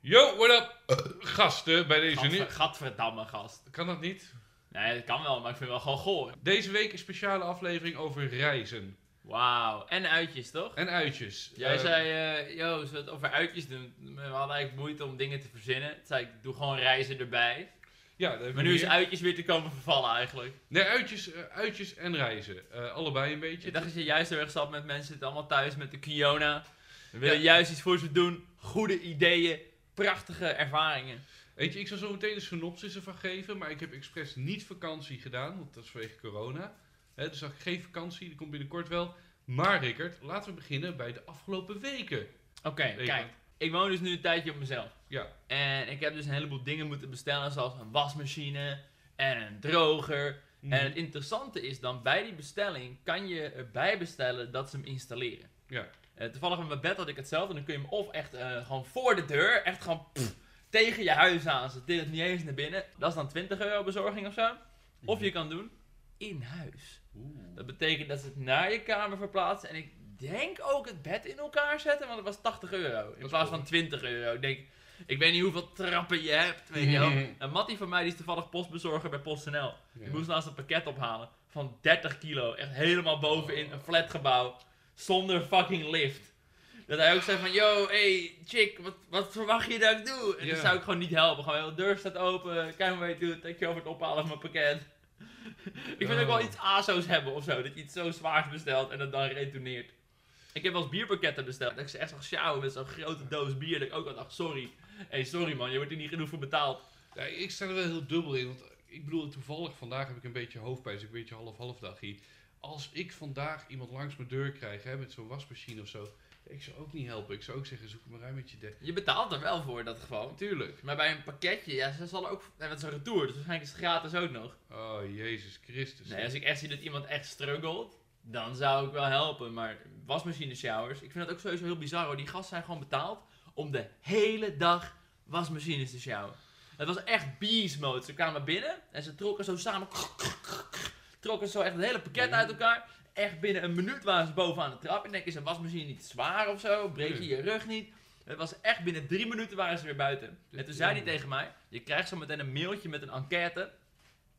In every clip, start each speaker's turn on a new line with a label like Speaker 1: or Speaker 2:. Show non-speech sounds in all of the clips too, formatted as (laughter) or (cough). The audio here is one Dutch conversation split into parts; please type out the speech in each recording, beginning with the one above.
Speaker 1: Yo, what up, gasten bij deze nieuwe...
Speaker 2: Gadver, gadverdamme gast.
Speaker 1: Kan dat niet?
Speaker 2: Nee, dat kan wel, maar ik vind het wel gewoon goor.
Speaker 1: Deze week een speciale aflevering over reizen
Speaker 2: Wauw. En uitjes, toch?
Speaker 1: en uitjes.
Speaker 2: Jij
Speaker 1: Eh,
Speaker 2: zei, eh yo, zullen we het over uitjes doen? We hadden eigenlijk moeite om dingen te verzinnen. Toen zei ik, doe gewoon reizen erbij.
Speaker 1: Ja, daar hebben
Speaker 2: Maar
Speaker 1: we
Speaker 2: nu is
Speaker 1: hier.
Speaker 2: uitjes weer te komen vervallen eigenlijk.
Speaker 1: Nee, uitjes, eh, uitjes en reizen. Eh, allebei een beetje.
Speaker 2: Ik dacht dat je juist heel erg zat met mensen, zitten allemaal thuis met de Kiona. We willen
Speaker 1: Ja.
Speaker 2: juist iets voor ze doen. Goede ideeën, prachtige ervaringen.
Speaker 1: Weet je, ik zal zo meteen een synopsis ervan geven, maar ik heb expres niet vakantie gedaan, want dat is vanwege corona. Hè, dus had ik geen vakantie, die komt binnenkort wel. Maar Rickert, laten we beginnen bij de afgelopen weken.
Speaker 2: Oké, kijk. Ik woon dus nu een tijdje op mezelf.
Speaker 1: Ja.
Speaker 2: En ik heb dus een heleboel dingen moeten bestellen, zoals een wasmachine en een droger
Speaker 1: Mhm.
Speaker 2: En het interessante is dan, bij die bestelling kan je erbij bestellen dat ze hem installeren.
Speaker 1: Ja.
Speaker 2: Eh, toevallig met mijn bed had ik hetzelfde. Dan kun je hem of echt eh, gewoon voor de deur, echt gewoon pff, tegen je huis aan. Ze tillen het niet eens naar binnen. Dat is dan 20 euro bezorging of zo.
Speaker 1: Mhm.
Speaker 2: Of je kan doen in huis.
Speaker 1: Oeh.
Speaker 2: Dat betekent dat ze het naar je kamer verplaatsen. En ik denk ook het bed in elkaar zetten, want het was 80 euro. In
Speaker 1: is
Speaker 2: plaats
Speaker 1: cool.
Speaker 2: van 20 euro. Ik denk, ik weet niet hoeveel trappen je hebt, weet
Speaker 1: (laughs)
Speaker 2: je wel.
Speaker 1: Mhm.
Speaker 2: En Mattie van mij, die is toevallig postbezorger bij PostNL.
Speaker 1: Ja.
Speaker 2: Ik moest laatst een pakket ophalen van 30 kilo. Echt helemaal
Speaker 1: Oh.
Speaker 2: bovenin een flatgebouw. Zonder fucking lift. Dat hij ook zei van, yo, hey, chick, wat, wat verwacht je dat ik doe? En
Speaker 1: Ja.
Speaker 2: dan zou ik gewoon niet helpen. Gewoon, joh, de deur staat open, kijk maar wat je doet, dankjewel voor het ophalen van mijn pakket. (laughs) ik vind ook wel
Speaker 1: Oh.
Speaker 2: iets ASO's hebben of zo, dat je iets zo zwaars bestelt en dat dan retourneert. Ik heb wel eens bierpakketten besteld, dat ik ze echt zag sjouwen met zo'n grote doos bier, dat ik ook al dacht, sorry. Hé, hey, sorry man, je wordt hier niet genoeg voor betaald.
Speaker 1: Ja, ik sta er wel heel dubbel in, want ik bedoel, toevallig vandaag heb ik een beetje hoofdpijn, dus ik een beetje half-half dag hier. Als ik vandaag iemand langs mijn deur krijg, hè, met zo'n wasmachine of zo, ik zou ook niet helpen. Ik zou ook zeggen, zoek maar uit met je dek.
Speaker 2: Je betaalt er wel voor in dat geval.
Speaker 1: Natuurlijk.
Speaker 2: Maar bij een pakketje, ja, ze zal ook. En met zo'n retour, dus waarschijnlijk is het gratis ook nog.
Speaker 1: Oh, Jezus Christus.
Speaker 2: Nee, als ik echt zie dat iemand echt struggelt, dan zou ik wel helpen. Maar wasmachine showers, ik vind dat ook sowieso heel bizar hoor. Die gasten zijn gewoon betaald om de hele dag wasmachines te showeren. Het was echt beast mode. Ze kwamen binnen en ze trokken zo samen. Trokken zo echt het hele pakket uit elkaar. Echt binnen een minuut waren ze bovenaan de trap. En denk is een wasmachine niet zwaar of zo? Breek je
Speaker 1: Nee.
Speaker 2: je rug niet? Het was echt binnen drie minuten waren ze weer buiten. En toen zei hij tegen mij: Je krijgt zo meteen een mailtje met een enquête.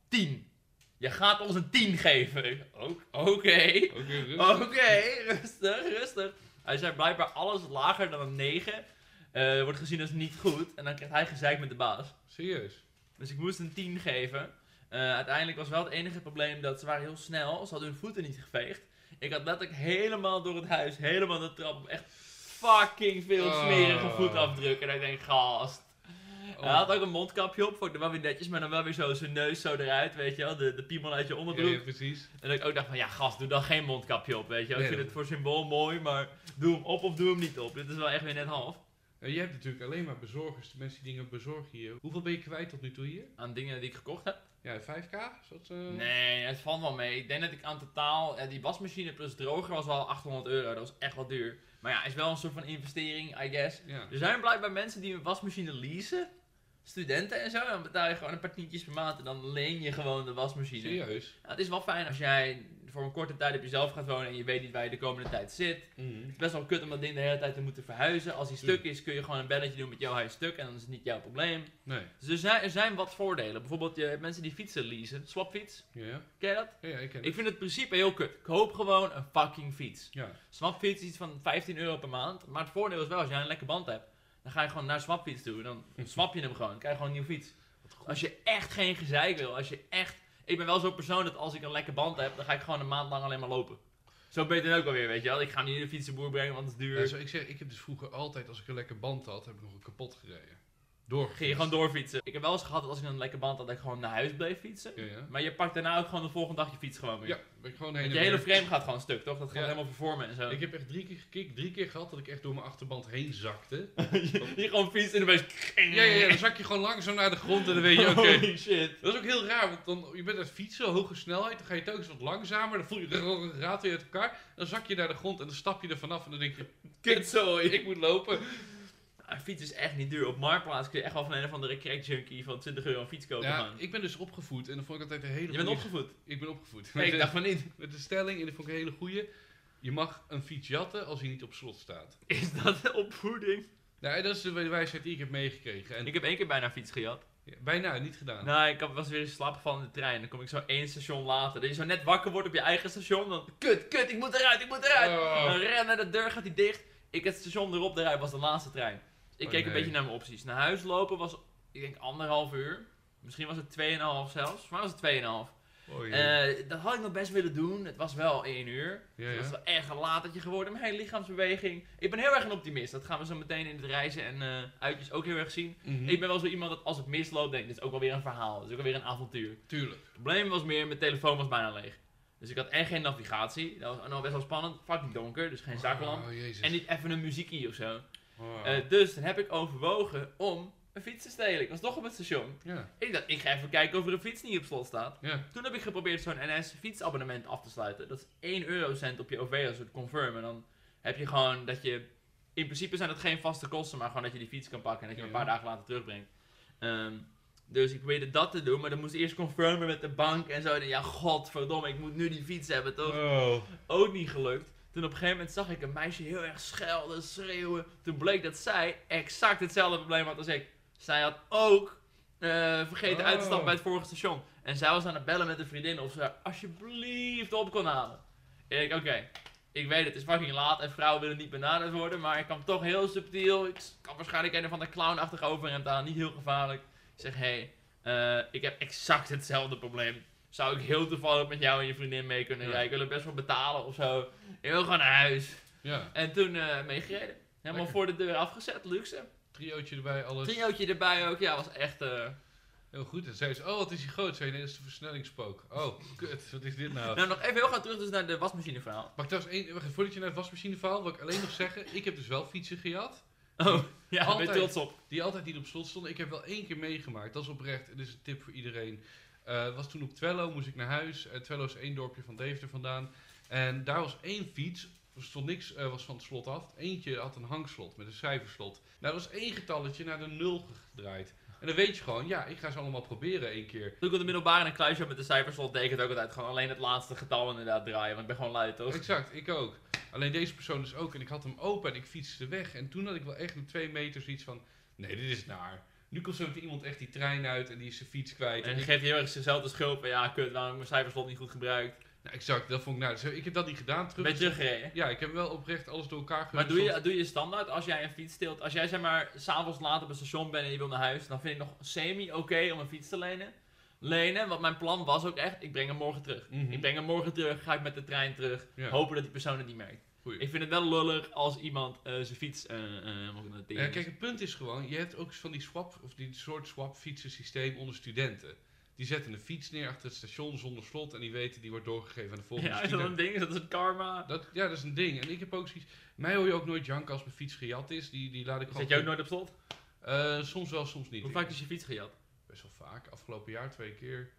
Speaker 2: 10. Je gaat ons een 10 geven. Ik, "Ook- Oké.
Speaker 1: Ook weer rustig.
Speaker 2: Oké, rustig, rustig. Hij zei blijkbaar alles lager dan een 9 eh, wordt gezien als niet goed. En dan krijgt hij gezeik met de baas.
Speaker 1: Serieus.
Speaker 2: Dus ik moest een 10 geven. Eh, uiteindelijk was wel het enige probleem dat ze waren heel snel. Ze hadden hun voeten niet geveegd. Ik had letterlijk helemaal door het huis, helemaal de trap, echt fucking veel
Speaker 1: Ah.
Speaker 2: smerige voetafdruk. En ik denk, gast. Hij
Speaker 1: Oh.
Speaker 2: had ook een mondkapje op, vond ik wel weer netjes, maar dan wel weer zo zijn neus zo eruit, weet je wel, de, de piemel uit je
Speaker 1: Ja,
Speaker 2: onderbroek.
Speaker 1: ja, precies.
Speaker 2: En dat ik ook dacht van, ja gast, doe dan geen mondkapje op, weet je wel. Ik
Speaker 1: Nee,
Speaker 2: vind
Speaker 1: dat-
Speaker 2: het voor symbool mooi, maar doe hem op of doe hem niet op. Dit is wel echt weer net half.
Speaker 1: En jij hebt natuurlijk alleen maar bezorgers, de mensen die dingen bezorgen hier. Hoeveel ben je kwijt tot nu toe hier?
Speaker 2: Aan dingen die ik gekocht heb.
Speaker 1: Ja, 5k? Is dat, eh,
Speaker 2: Nee, het valt wel mee. Ik denk dat ik aan totaal, eh, die wasmachine plus droger was wel 800 euro. Dat was echt wel duur. Maar ja, is wel een soort van investering, I guess.
Speaker 1: Ja.
Speaker 2: Er zijn blijkbaar mensen die een wasmachine leasen. Studenten en zo. En dan betaal je gewoon een paar tientjes per maand en dan leen je gewoon de wasmachine.
Speaker 1: Serieus.
Speaker 2: Ja, Nou, het is wel fijn als jij voor een korte tijd op jezelf gaat wonen en je weet niet waar je de komende tijd zit.
Speaker 1: Mm.
Speaker 2: Het is best wel kut om dat ding de hele tijd te moeten verhuizen. Als hij stuk is, kun je gewoon een belletje doen met jou, hij is stuk en dan is het niet jouw probleem.
Speaker 1: Nee.
Speaker 2: Dus er zijn, er zijn wat voordelen. Bijvoorbeeld je hebt mensen die fietsen leasen, swapfiets.
Speaker 1: Ja.
Speaker 2: Ken je dat?
Speaker 1: Ja, ja, ik ken
Speaker 2: Ik
Speaker 1: het.
Speaker 2: vind het principe heel kut. Koop gewoon een fucking fiets.
Speaker 1: Ja.
Speaker 2: Swapfiets is iets van 15 euro per maand. Maar het voordeel is wel, als jij een lekker band hebt, dan ga je gewoon naar swapfiets
Speaker 1: (laughs)
Speaker 2: toe. Dan swap je hem gewoon, dan krijg je gewoon een nieuwe fiets. Als je echt geen gezeik wil, als je echt... Ik ben wel zo'n persoon dat als ik een lekker band heb, dan ga ik gewoon een maand lang alleen maar lopen. Zo beter ook alweer, weet je wel. Ik ga hem niet in de fietsenboer brengen, want het is duur.
Speaker 1: Ja, zo, ik, zeg, ik heb dus vroeger altijd, als ik een lekker band had, heb ik nog een kapot gereden. Door.
Speaker 2: Ging je gewoon doorfietsen. Ik heb wel eens gehad dat als ik een lekker band had, dat ik gewoon naar huis bleef fietsen.
Speaker 1: Ja, ja.
Speaker 2: Maar je pakt daarna ook gewoon de volgende dag je fiets gewoon weer.
Speaker 1: Ja, ben ik gewoon heen en
Speaker 2: Want Oh, je hele
Speaker 1: weer.
Speaker 2: frame gaat gewoon stuk, toch? Dat gaat
Speaker 1: Ja.
Speaker 2: helemaal vervormen en zo.
Speaker 1: Ik heb echt drie keer gekikt, drie keer gehad dat ik echt door mijn achterband heen zakte.
Speaker 2: Die gewoon fietst en opeens...
Speaker 1: Ja, ja, ja, dan zak je gewoon langzaam naar de grond en dan weet je,
Speaker 2: (laughs)
Speaker 1: oké.
Speaker 2: Holy shit.
Speaker 1: Dat is ook heel raar, want dan, je bent aan het fietsen, hoge snelheid, dan ga je telkens wat langzamer, dan voel je de raad weer uit elkaar, dan zak je naar de grond en dan stap je er vanaf en dan denk je,
Speaker 2: Kutzooi.
Speaker 1: ik moet lopen.
Speaker 2: Nou, Een fiets is echt niet duur. Op Marktplaats kun je echt wel van een of andere crackjunkie van 20 euro een fiets kopen.
Speaker 1: Ja,
Speaker 2: Oh, man.
Speaker 1: ik ben dus opgevoed en dan vond ik altijd een hele
Speaker 2: Je bent
Speaker 1: goeie-
Speaker 2: opgevoed. (laughs)
Speaker 1: Ik ben opgevoed.
Speaker 2: Nee,
Speaker 1: met, (laughs)
Speaker 2: ik
Speaker 1: de,
Speaker 2: dacht van niet.
Speaker 1: met de stelling, en dat vond ik een hele goeie, je mag een fiets jatten als hij niet op slot staat.
Speaker 2: Is dat opvoeding?
Speaker 1: Nou, en dat is de wijsheid die ik heb meegekregen. En
Speaker 2: Ik heb één keer bijna een fiets gejat.
Speaker 1: Ja, bijna niet gedaan.
Speaker 2: Nou, ik had- was weer in slaap gevallen in de trein. Dan kom ik zo één station later. Dat je zo net wakker wordt op je eigen station. Dan, kut, kut, ik moet eruit, ik moet eruit.
Speaker 1: Oh.
Speaker 2: Dan ren naar de deur, gaat die dicht. Ik het station erop, eruit was de laatste trein. Dus ik
Speaker 1: Oh,
Speaker 2: keek
Speaker 1: nee.
Speaker 2: een beetje naar mijn opties. Naar huis lopen was, ik denk, anderhalf uur. Misschien was het 2,5 zelfs. Maar was het 2,5.
Speaker 1: Oei.
Speaker 2: Eh dat had ik nog best willen doen. Het was wel één uur.
Speaker 1: ja,
Speaker 2: Het
Speaker 1: ja.
Speaker 2: was wel erg een latertje geworden. Mijn hele lichaamsbeweging. Ik ben heel erg een optimist. Dat gaan we zo meteen in de reizen en eh, uitjes ook heel erg zien.
Speaker 1: Mhm.
Speaker 2: Ik ben wel zo iemand dat als het misloopt, denk ik, dit is ook wel weer een verhaal. Dit is ook wel weer een avontuur.
Speaker 1: Tuurlijk.
Speaker 2: Het probleem was meer, mijn telefoon was bijna leeg. Dus ik had en geen navigatie. Dat was nog best wel spannend. Fucking donker, dus geen zaklamp.
Speaker 1: Oh, jezus.
Speaker 2: En niet even een muziekie of zo.
Speaker 1: Oh.
Speaker 2: Eh, dus dan heb ik overwogen om een fiets te stelen. Ik was toch op het station.
Speaker 1: ja,
Speaker 2: Ik dacht, ik ga even kijken of er een fiets niet op slot staat.
Speaker 1: ja.
Speaker 2: Toen heb ik geprobeerd zo'n NS fietsabonnement af te sluiten. Dat is 1 eurocent op je OV als het confirm. En dan heb je gewoon dat je... In principe zijn dat geen vaste kosten, maar gewoon dat je die fiets kan pakken en dat je hem een
Speaker 1: Ja.
Speaker 2: paar dagen later terugbrengt. Ehm, dus ik probeerde dat te doen, maar dan moest ik eerst confirmen met de bank en zo. En ja, godverdomme, ik moet nu die fiets hebben, toch?
Speaker 1: Oh.
Speaker 2: Ook niet gelukt. Toen op een gegeven moment zag ik een meisje heel erg schelden, schreeuwen. Toen bleek dat zij exact hetzelfde probleem had als ik. Zij had ook eh, vergeten uit te stappen
Speaker 1: Oh.
Speaker 2: bij het vorige station. En zij was aan het bellen met een vriendin of ze haar alsjeblieft op kon halen. En ik, oké, ik weet het is fucking laat en vrouwen willen niet benaderd worden. Maar ik kan toch heel subtiel, ik kan waarschijnlijk een van de clownachtige overhemd aan, niet heel gevaarlijk. Ik zeg, hé, hey, eh, ik heb exact hetzelfde probleem. Zou ik heel toevallig met jou en je vriendin mee kunnen
Speaker 1: Ja.
Speaker 2: rijden? Ik wil er best wel betalen of zo. Ik wil gewoon naar huis.
Speaker 1: Ja,
Speaker 2: En toen eh, meegereden. Helemaal
Speaker 1: Lekker.
Speaker 2: voor de deur afgezet, luxe.
Speaker 1: triootje erbij, alles.
Speaker 2: Triootje erbij ook, ja, was echt... eh,
Speaker 1: Heel goed. En zei ze, oh, wat is die groot? Zei je, nee, dat is de versnellingspook. Oh, kut, wat is dit nou?
Speaker 2: (laughs) Nou, nog even heel gaan terug dus naar de wasmachine verhaal.
Speaker 1: Maar ik trouwens, één, wacht, voordat je naar het wasmachine verhaal, wil ik alleen nog zeggen, ik heb dus wel fietsen gejat.
Speaker 2: Oh, (laughs) ja, ben
Speaker 1: Altijd.
Speaker 2: je trots op.
Speaker 1: Die altijd niet op slot stonden. Ik heb wel één keer meegemaakt. Dat is oprecht. En dit is een tip voor iedereen. Eh was toen op Twello, moest ik naar huis. Eh, Twello is één dorpje van Deventer vandaan. En daar was één fiets. Er stond niks, eh, was van het slot af. Eentje had een hangslot met een cijferslot. Nou, dat was één getalletje naar de nul gedraaid. En dan weet je gewoon, ja, ik ga ze allemaal proberen één keer.
Speaker 2: Toen ik op de middelbare in een kluisje had met de cijferslot, deed ik het ook altijd gewoon alleen het laatste getal inderdaad draaien. Want ik ben gewoon lui, toch?
Speaker 1: Exact, ik ook. Alleen deze persoon dus ook. En ik had hem open en ik fietste weg. En toen had ik wel echt na twee meter zoiets van... Nee, dit is naar. Nu komt zo meteen iemand echt die trein uit en die is zijn fiets kwijt.
Speaker 2: En
Speaker 1: En
Speaker 2: dan
Speaker 1: ik,
Speaker 2: geeft hij heel erg zichzelf de schuld van, ja, kut, waarom heb ik mijn cijferslot niet goed gebruikt?
Speaker 1: nou, exact, dat vond ik nou... zo- Ik heb dat niet gedaan. Terug,
Speaker 2: Ben je teruggereden?
Speaker 1: Ja, ik heb wel oprecht alles door elkaar
Speaker 2: Maar
Speaker 1: gehusseld.
Speaker 2: doe je, doe je standaard als jij een fiets steelt? Als jij zeg maar s'avonds laat op het station bent en je wil naar huis, dan vind ik nog semi-oké om een fiets te lenen. Lenen, want mijn plan was ook echt, ik breng hem morgen terug.
Speaker 1: Mhm.
Speaker 2: Ik breng hem morgen terug, ga ik met de trein terug,
Speaker 1: Ja.
Speaker 2: hopen dat die persoon het niet merkt.
Speaker 1: Goeie.
Speaker 2: Ik vind het wel lullig als iemand eh, zijn fiets eh eh, helemaal naar de tering
Speaker 1: Ja,
Speaker 2: is.
Speaker 1: kijk, het punt is gewoon, je hebt ook van die swap, of die soort swap fietsensysteem onder studenten. Die zetten een fiets neer achter het station zonder slot en die weten, die wordt doorgegeven aan de volgende
Speaker 2: Ja, is dat
Speaker 1: student.
Speaker 2: een ding? Is dat een karma?
Speaker 1: Dat, ja, dat is een ding. En ik heb ook zoiets. Mij hoor je ook nooit janken als mijn fiets gejat is. Die, die laat ik gewoon.
Speaker 2: Zet je ook nooit op slot?
Speaker 1: Eh, soms wel, soms niet.
Speaker 2: Hoe vaak is je fiets gejat?
Speaker 1: Best wel vaak. Afgelopen jaar twee keer.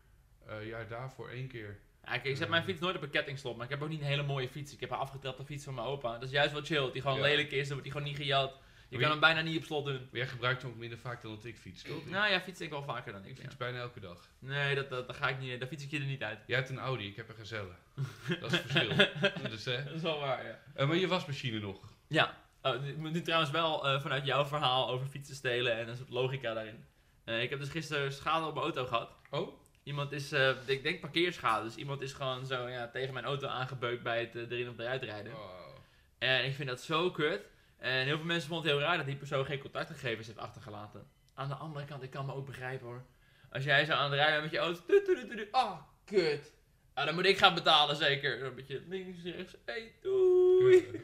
Speaker 1: Eh jaar daarvoor één keer.
Speaker 2: Ja, kijk, ik zet mijn fiets nooit op een kettingslot, maar ik heb ook niet een hele mooie fiets. Ik heb een afgetrapte fiets van mijn opa. Dat is juist wel chill, dat die gewoon
Speaker 1: Ja.
Speaker 2: lelijk is, dan wordt die gewoon niet gejat. Je
Speaker 1: Wie-
Speaker 2: kan hem bijna niet op slot doen.
Speaker 1: Maar jij gebruikt hem ook minder vaak dan dat ik fiets, toch?
Speaker 2: Nou ja, fiets ik wel vaker dan
Speaker 1: ik
Speaker 2: ik. ja.
Speaker 1: fiets bijna elke dag.
Speaker 2: Nee, dat, dat, daar ga ik niet, daar fiets ik je er niet uit.
Speaker 1: Jij hebt een Audi, ik heb een Gazelle. dat is het verschil. dus, hè.
Speaker 2: (laughs) Dat is wel waar, ja.
Speaker 1: Eh, maar je wasmachine nog.
Speaker 2: Ja, oh, nu- nu trouwens wel eh, vanuit jouw verhaal over fietsen stelen en een soort logica daarin. Eh, ik heb dus gisteren schade op mijn auto gehad.
Speaker 1: Oh?
Speaker 2: Iemand is, eh, ik denk parkeerschade, dus iemand is gewoon zo ja, tegen mijn auto aangebeukt bij het eh, erin of eruit rijden.
Speaker 1: Oh.
Speaker 2: En ik vind dat zo kut. En heel veel mensen vonden het heel raar dat die persoon geen contactgegevens heeft achtergelaten. Aan de andere kant, ik kan me ook begrijpen hoor. Als jij zo aan het rijden bent met je auto. Doet, doet, doet, doet, doet. Ah, kut. Ah, dan moet ik gaan betalen zeker. Een beetje links, rechts. Hey, doei.
Speaker 1: eh,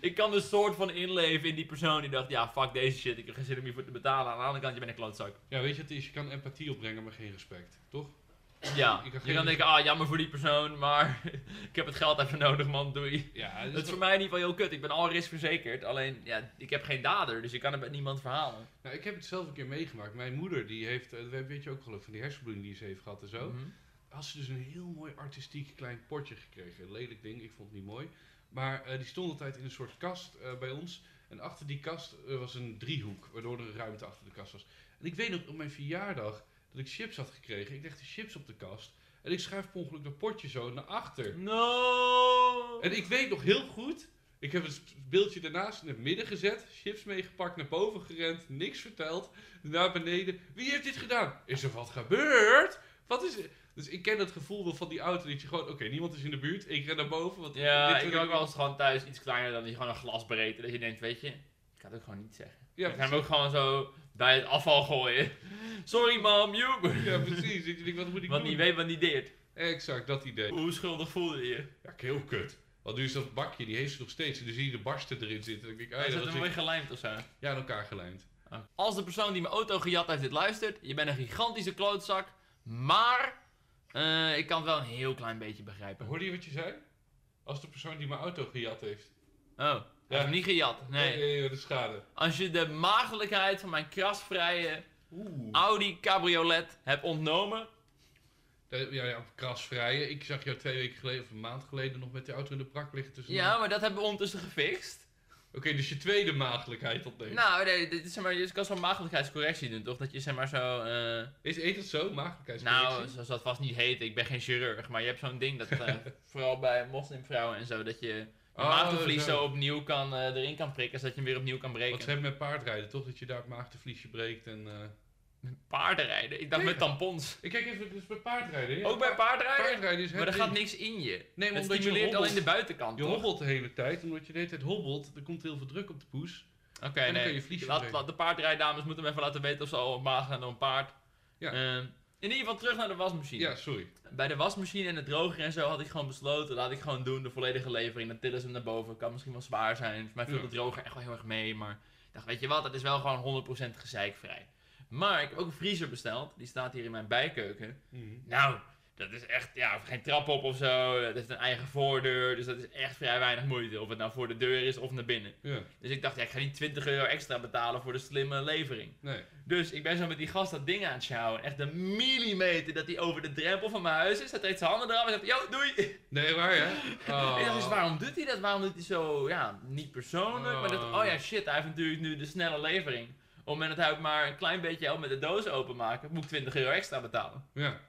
Speaker 2: Ik kan een soort van inleven in die persoon die dacht, ja, fuck deze shit. Ik heb geen zin om hiervoor te betalen. Aan de andere kant, je bent een klootzak.
Speaker 1: Ja, weet je wat het is? Je kan empathie opbrengen, maar geen respect. Toch?
Speaker 2: Ja,
Speaker 1: Ik kan
Speaker 2: je
Speaker 1: geen-
Speaker 2: kan denken, ah, jammer voor die persoon, maar (laughs) ik heb het geld even nodig, man. Doei.
Speaker 1: Ja,
Speaker 2: Dat is voor mij in ieder geval heel kut. Ik ben al risicoverzekerd. Alleen, ja, ik heb geen dader, dus ik kan het met niemand verhalen.
Speaker 1: Nou, ik heb het zelf een keer meegemaakt. Mijn moeder, die heeft, eh, we- weet je ook geloof ik, van die hersenbloeding die ze heeft gehad en zo.
Speaker 2: Mhm.
Speaker 1: Had ze dus een heel mooi artistiek klein potje gekregen. Een lelijk ding, ik vond het niet mooi. Maar eh, die stond altijd in een soort kast eh, bij ons. En achter die kast eh, was een driehoek, waardoor er een ruimte achter de kast was. En ik weet nog op mijn verjaardag dat ik chips had gekregen. Ik legde chips op de kast. En ik schuif per ongeluk dat potje zo naar achter.
Speaker 2: No!
Speaker 1: En ik weet nog heel goed Ik heb het beeldje daarnaast in het midden gezet, chips meegepakt, naar boven gerend, niks verteld, naar beneden. Wie heeft dit gedaan? Is er wat gebeurd? Wat is er? Dus ik ken dat gevoel wel van die auto dat je gewoon, oké, niemand is in de buurt, ik ren naar boven. Want
Speaker 2: Ja,
Speaker 1: dit
Speaker 2: ik
Speaker 1: wil
Speaker 2: ben ook wel eens gewoon thuis iets kleiner dan dat je gewoon een glas breedte. Dat je denkt, weet je, ik kan het ook gewoon niet zeggen.
Speaker 1: Ja,
Speaker 2: ik ga hem ook gewoon zo bij het afval gooien. Sorry mam, joep.
Speaker 1: Ja, precies. Dat je denkt, wat moet ik
Speaker 2: Want
Speaker 1: doen?
Speaker 2: die weet wat die deed.
Speaker 1: Exact, dat idee.
Speaker 2: Hoe schuldig voelde je je?
Speaker 1: Ja, heel kut. Want nu is dat bakje, die heeft ze nog steeds. En dan zie je de barsten erin zitten. En ik denk, ah,
Speaker 2: Hij
Speaker 1: ja,
Speaker 2: zat
Speaker 1: dat
Speaker 2: hem
Speaker 1: is
Speaker 2: mooi gelijmd of zo. Oh.
Speaker 1: ja, aan elkaar gelijmd.
Speaker 2: Als de persoon die mijn auto gejat heeft dit luistert, je bent een gigantische klootzak. Maar eh, ik kan het wel een heel klein beetje begrijpen.
Speaker 1: Hoorde je wat je zei? Als de persoon die mijn auto gejat heeft.
Speaker 2: Oh, hij heeft hem niet gejat. Nee.
Speaker 1: Eh, de schade.
Speaker 2: Als je de maagdelijkheid van mijn krasvrije
Speaker 1: Oeh.
Speaker 2: Audi cabriolet hebt ontnomen,
Speaker 1: Eh, Ja, ja, krasvrije. Ik zag jou twee weken geleden of een maand geleden nog met die auto in de prak liggen tussen.
Speaker 2: Ja, maar dat hebben we ondertussen gefixt.
Speaker 1: Oké, dus je tweede maagdelijkheid opnemen.
Speaker 2: Nou, nee, dit is, zeg maar, je kan zo'n maagdelijkheidscorrectie doen, toch? Dat je zeg maar zo. eh,
Speaker 1: Is, heet het zo, maagdelijkheidscorrectie?
Speaker 2: nou, zo zal het vast niet heten, ik ben geen chirurg. Maar je hebt zo'n ding dat. eh, (laughs) vooral bij moslimvrouwen en zo, dat je. Je
Speaker 1: Oh,
Speaker 2: maagdenvlies
Speaker 1: zo.
Speaker 2: zo opnieuw kan, eh, erin kan prikken, zodat je hem weer opnieuw kan breken.
Speaker 1: Want ze hebben met paardrijden, toch? Dat je daar het maagdenvliesje breekt en... eh,
Speaker 2: Paardenrijden, ik dacht
Speaker 1: Ja.
Speaker 2: met tampons.
Speaker 1: Ik kijk even, dus bij paardrijden. ja.
Speaker 2: Ook bij paardrijden?
Speaker 1: paardrijden is het
Speaker 2: maar er
Speaker 1: ding.
Speaker 2: gaat niks in je.
Speaker 1: Nee, maar
Speaker 2: Het
Speaker 1: omdat je
Speaker 2: stimuleert
Speaker 1: hobbelt.
Speaker 2: alleen de buitenkant,
Speaker 1: Je
Speaker 2: toch?
Speaker 1: hobbelt de hele tijd, omdat je de hele tijd hobbelt, er komt heel veel druk op de poes.
Speaker 2: Oké,
Speaker 1: En dan
Speaker 2: nee.
Speaker 1: kan je dus. vliesje
Speaker 2: laat,
Speaker 1: breken.
Speaker 2: laat de paardrijdames moeten me even laten weten of ze al op maag gaan door een paard.
Speaker 1: Ja.
Speaker 2: Ehm, in ieder geval terug naar de wasmachine.
Speaker 1: Ja, sorry.
Speaker 2: Bij de wasmachine en de droger en zo had ik gewoon besloten, laat ik gewoon doen, de volledige levering. Dan tillen ze hem naar boven, kan misschien wel zwaar zijn. Voor mij viel
Speaker 1: Ja.
Speaker 2: de droger echt wel heel erg mee, maar ik dacht, weet je wat, het is wel gewoon 100% gezeikvrij. Maar ik heb ook een vriezer besteld, die staat hier in mijn bijkeuken. Nou, dat is echt, ja, geen trap op of zo, het heeft een eigen voordeur, dus dat is echt vrij weinig moeite. Of het nou voor de deur is of naar binnen.
Speaker 1: Ja,
Speaker 2: Dus ik dacht, ja, ik ga niet 20 euro extra betalen voor de slimme levering.
Speaker 1: nee.
Speaker 2: Dus ik ben zo met die gast dat ding aan het sjouwen. Echt de millimeter dat hij over de drempel van mijn huis is. Hij treedt zijn handen eraf en zegt, yo, doei.
Speaker 1: Nee, waar hè?
Speaker 2: (laughs)
Speaker 1: Oh.
Speaker 2: Ik dacht dus, waarom doet hij dat? Waarom doet hij zo, ja, niet persoonlijk? Maar dat, oh ja, shit, hij heeft natuurlijk nu de snelle levering. Op het moment dat hij ook maar een klein beetje helpt met de dozen openmaken, moet ik 20 euro extra betalen.
Speaker 1: Oh, Ja,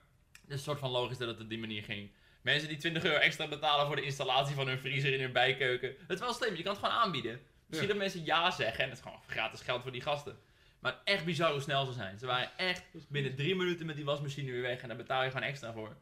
Speaker 2: Dus een soort van logisch dat het op die manier ging. Mensen die 20 euro extra betalen voor de installatie van hun vriezer in hun bijkeuken. Het is wel slim, je kan het gewoon aanbieden. Misschien
Speaker 1: Ja.
Speaker 2: dat mensen ja zeggen en dat is gewoon gratis geld voor die gasten. Maar echt bizar hoe snel ze zijn. Ze waren echt binnen drie minuten met die wasmachine weer weg en daar betaal je gewoon extra voor.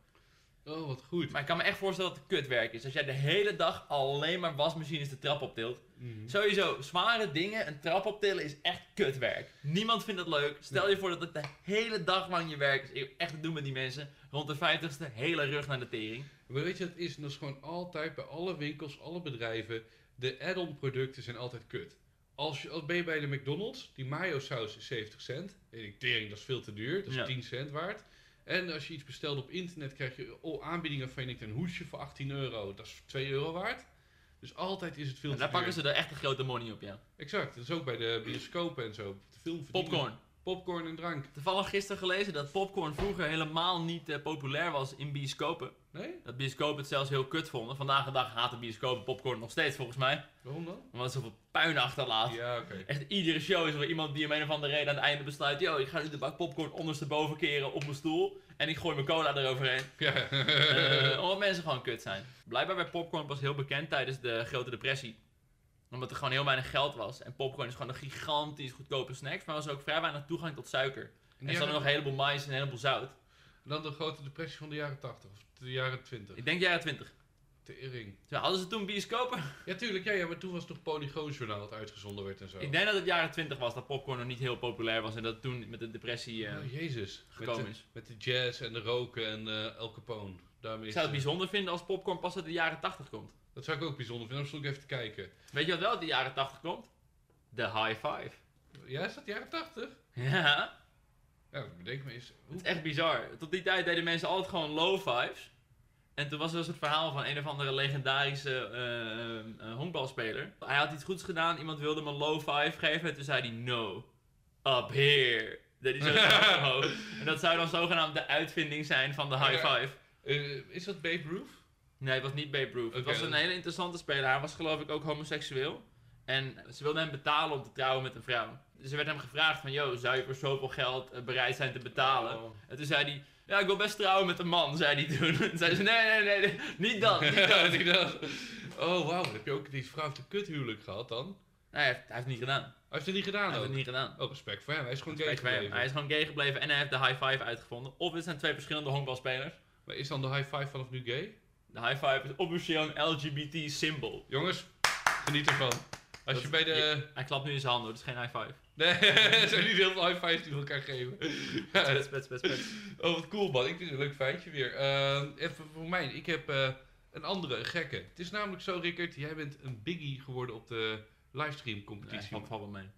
Speaker 1: oh wat goed.
Speaker 2: Maar ik kan me echt voorstellen dat het kutwerk is. Als jij de hele dag alleen maar wasmachines de trap optilt.
Speaker 1: Mhm.
Speaker 2: Sowieso, zware dingen, een trap optillen is echt kutwerk. Niemand vindt dat leuk. Stel je voor dat het de hele dag lang je werk is. Ik heb echt te doen met die mensen. Rond de 50ste, hele rug naar de tering.
Speaker 1: Maar weet je wat het is? En Dat is gewoon altijd bij alle winkels, alle bedrijven, de add-on producten zijn altijd kut. Als je, als ben je bij de McDonald's, die mayo saus is 70 cent. En ik tering, dat is veel te duur, dat is
Speaker 2: Ja.
Speaker 1: 10 cent waard. En als je iets bestelt op internet, krijg je al aanbiedingen van je denkt een hoesje voor 18 euro, dat is 2 euro waard. Dus altijd is het veel
Speaker 2: En
Speaker 1: te
Speaker 2: daar
Speaker 1: duur.
Speaker 2: pakken ze er echt een grote money op, ja.
Speaker 1: Exact, dat is ook bij de bioscopen en zo. De film verdienen-
Speaker 2: Popcorn.
Speaker 1: Popcorn en drank.
Speaker 2: Toevallig gisteren gelezen dat popcorn vroeger helemaal niet eh, populair was in bioscopen.
Speaker 1: Nee?
Speaker 2: Dat bioscopen het zelfs heel kut vonden. Vandaag de dag haten bioscopen popcorn nog steeds, volgens mij.
Speaker 1: Waarom dan?
Speaker 2: Omdat het zoveel puin achterlaat.
Speaker 1: Ja,
Speaker 2: (laughs)
Speaker 1: oké.
Speaker 2: Echt iedere show is er wel iemand die om een of andere reden aan het einde besluit. Yo, ik ga nu de bak popcorn ondersteboven keren op mijn stoel. En ik gooi mijn cola eroverheen.
Speaker 1: Ja.
Speaker 2: Eh, omdat mensen gewoon kut zijn. Blijkbaar bij popcorn was heel bekend tijdens de Grote Depressie. Omdat er gewoon heel weinig geld was. En popcorn is gewoon een gigantisch goedkope snack. Maar was er ook vrij weinig toegang tot suiker. En
Speaker 1: Ja,
Speaker 2: er zat nog een heleboel mais en een heleboel zout.
Speaker 1: Dan de grote depressie van de jaren 80 of de jaren 20.
Speaker 2: Ik denk jaren 20.
Speaker 1: Tering.
Speaker 2: Zo, hadden ze toen bioscopen?
Speaker 1: Ja, tuurlijk. Ja, ja, maar toen was het nog Polygoonjournaal dat uitgezonden werd en zo.
Speaker 2: Ik denk dat het jaren 20 was dat popcorn nog niet heel populair was. En dat toen met de depressie eh,
Speaker 1: Oh, Jezus. Met
Speaker 2: gekomen
Speaker 1: de,
Speaker 2: is.
Speaker 1: met de jazz en de roken en eh El Capone. Daarmee
Speaker 2: Ik
Speaker 1: is
Speaker 2: zou het
Speaker 1: de-
Speaker 2: bijzonder vinden als popcorn pas uit de jaren 80 komt.
Speaker 1: dat zou ik ook bijzonder vinden. Dan stond ik even te kijken.
Speaker 2: Weet je wat wel uit de jaren 80 komt? De high five.
Speaker 1: Ja, is dat jaren 80?
Speaker 2: Ja,
Speaker 1: Ja, bedenk me eens.
Speaker 2: het
Speaker 1: Hoe-
Speaker 2: is echt bizar. Tot die tijd deden mensen altijd gewoon low fives. En toen was er dus het verhaal van een of andere legendarische eh, eh, eh, honkbalspeler. Hij had iets goeds gedaan, iemand wilde hem een low five geven. En toen zei hij no, up here. Dat hij zo naar omhoog. En dat zou dan zogenaamd de uitvinding zijn van de high
Speaker 1: Ja.
Speaker 2: five.
Speaker 1: Eh, is dat Babe Roof?
Speaker 2: Nee, het was niet Babe Ruth. het
Speaker 1: Oké,
Speaker 2: was een
Speaker 1: dat-
Speaker 2: hele interessante speler. Hij was geloof ik ook homoseksueel. En ze wilde hem betalen om te trouwen met een vrouw. Dus er werd hem gevraagd van, yo, zou je voor zoveel geld eh, bereid zijn te betalen?
Speaker 1: Oh. (laughs)
Speaker 2: En toen zei hij, ja, ik wil best trouwen met een man, zei hij toen. (laughs) En zei ze, nee, nee, nee, nee, niet
Speaker 1: (laughs)
Speaker 2: dat, niet dat. Nou,
Speaker 1: Ja, die dacht, oh wauw, heb je ook die vrouw heeft een kuthuwelijk gehad dan? Hij
Speaker 2: Nee, hij heeft, hij heeft het niet gedaan.
Speaker 1: heeft het niet
Speaker 2: Hij
Speaker 1: gedaan
Speaker 2: heeft
Speaker 1: ook.
Speaker 2: het niet gedaan.
Speaker 1: Oh, respect voor hem, hij is gewoon gay
Speaker 2: Respect voor hem.
Speaker 1: gebleven.
Speaker 2: Hij is gewoon gay gebleven en hij heeft de high five uitgevonden. Of het zijn twee verschillende honkbalspelers.
Speaker 1: Maar is dan de high five vanaf nu gay?
Speaker 2: De high five is officieel een LGBT symbool.
Speaker 1: Jongens, geniet ervan. Als
Speaker 2: Dat-
Speaker 1: je bij de...
Speaker 2: Hij klapt nu in zijn handen, hoor, het is geen high five.
Speaker 1: (laughs) Nee, (laughs) er zijn niet heel veel high fives die we elkaar geven. (laughs) Ja,
Speaker 2: Spets, spets, spets,
Speaker 1: (laughs)
Speaker 2: spets.
Speaker 1: Oh, wat cool man. Ik vind het een leuk feitje weer. Ehm, even voor mij. Ik heb eh, een andere, een gekke. Het is namelijk zo, Rickert. Jij bent een biggie geworden op de livestream
Speaker 2: Nee,
Speaker 1: competitie.
Speaker 2: valt valt wel mee. ben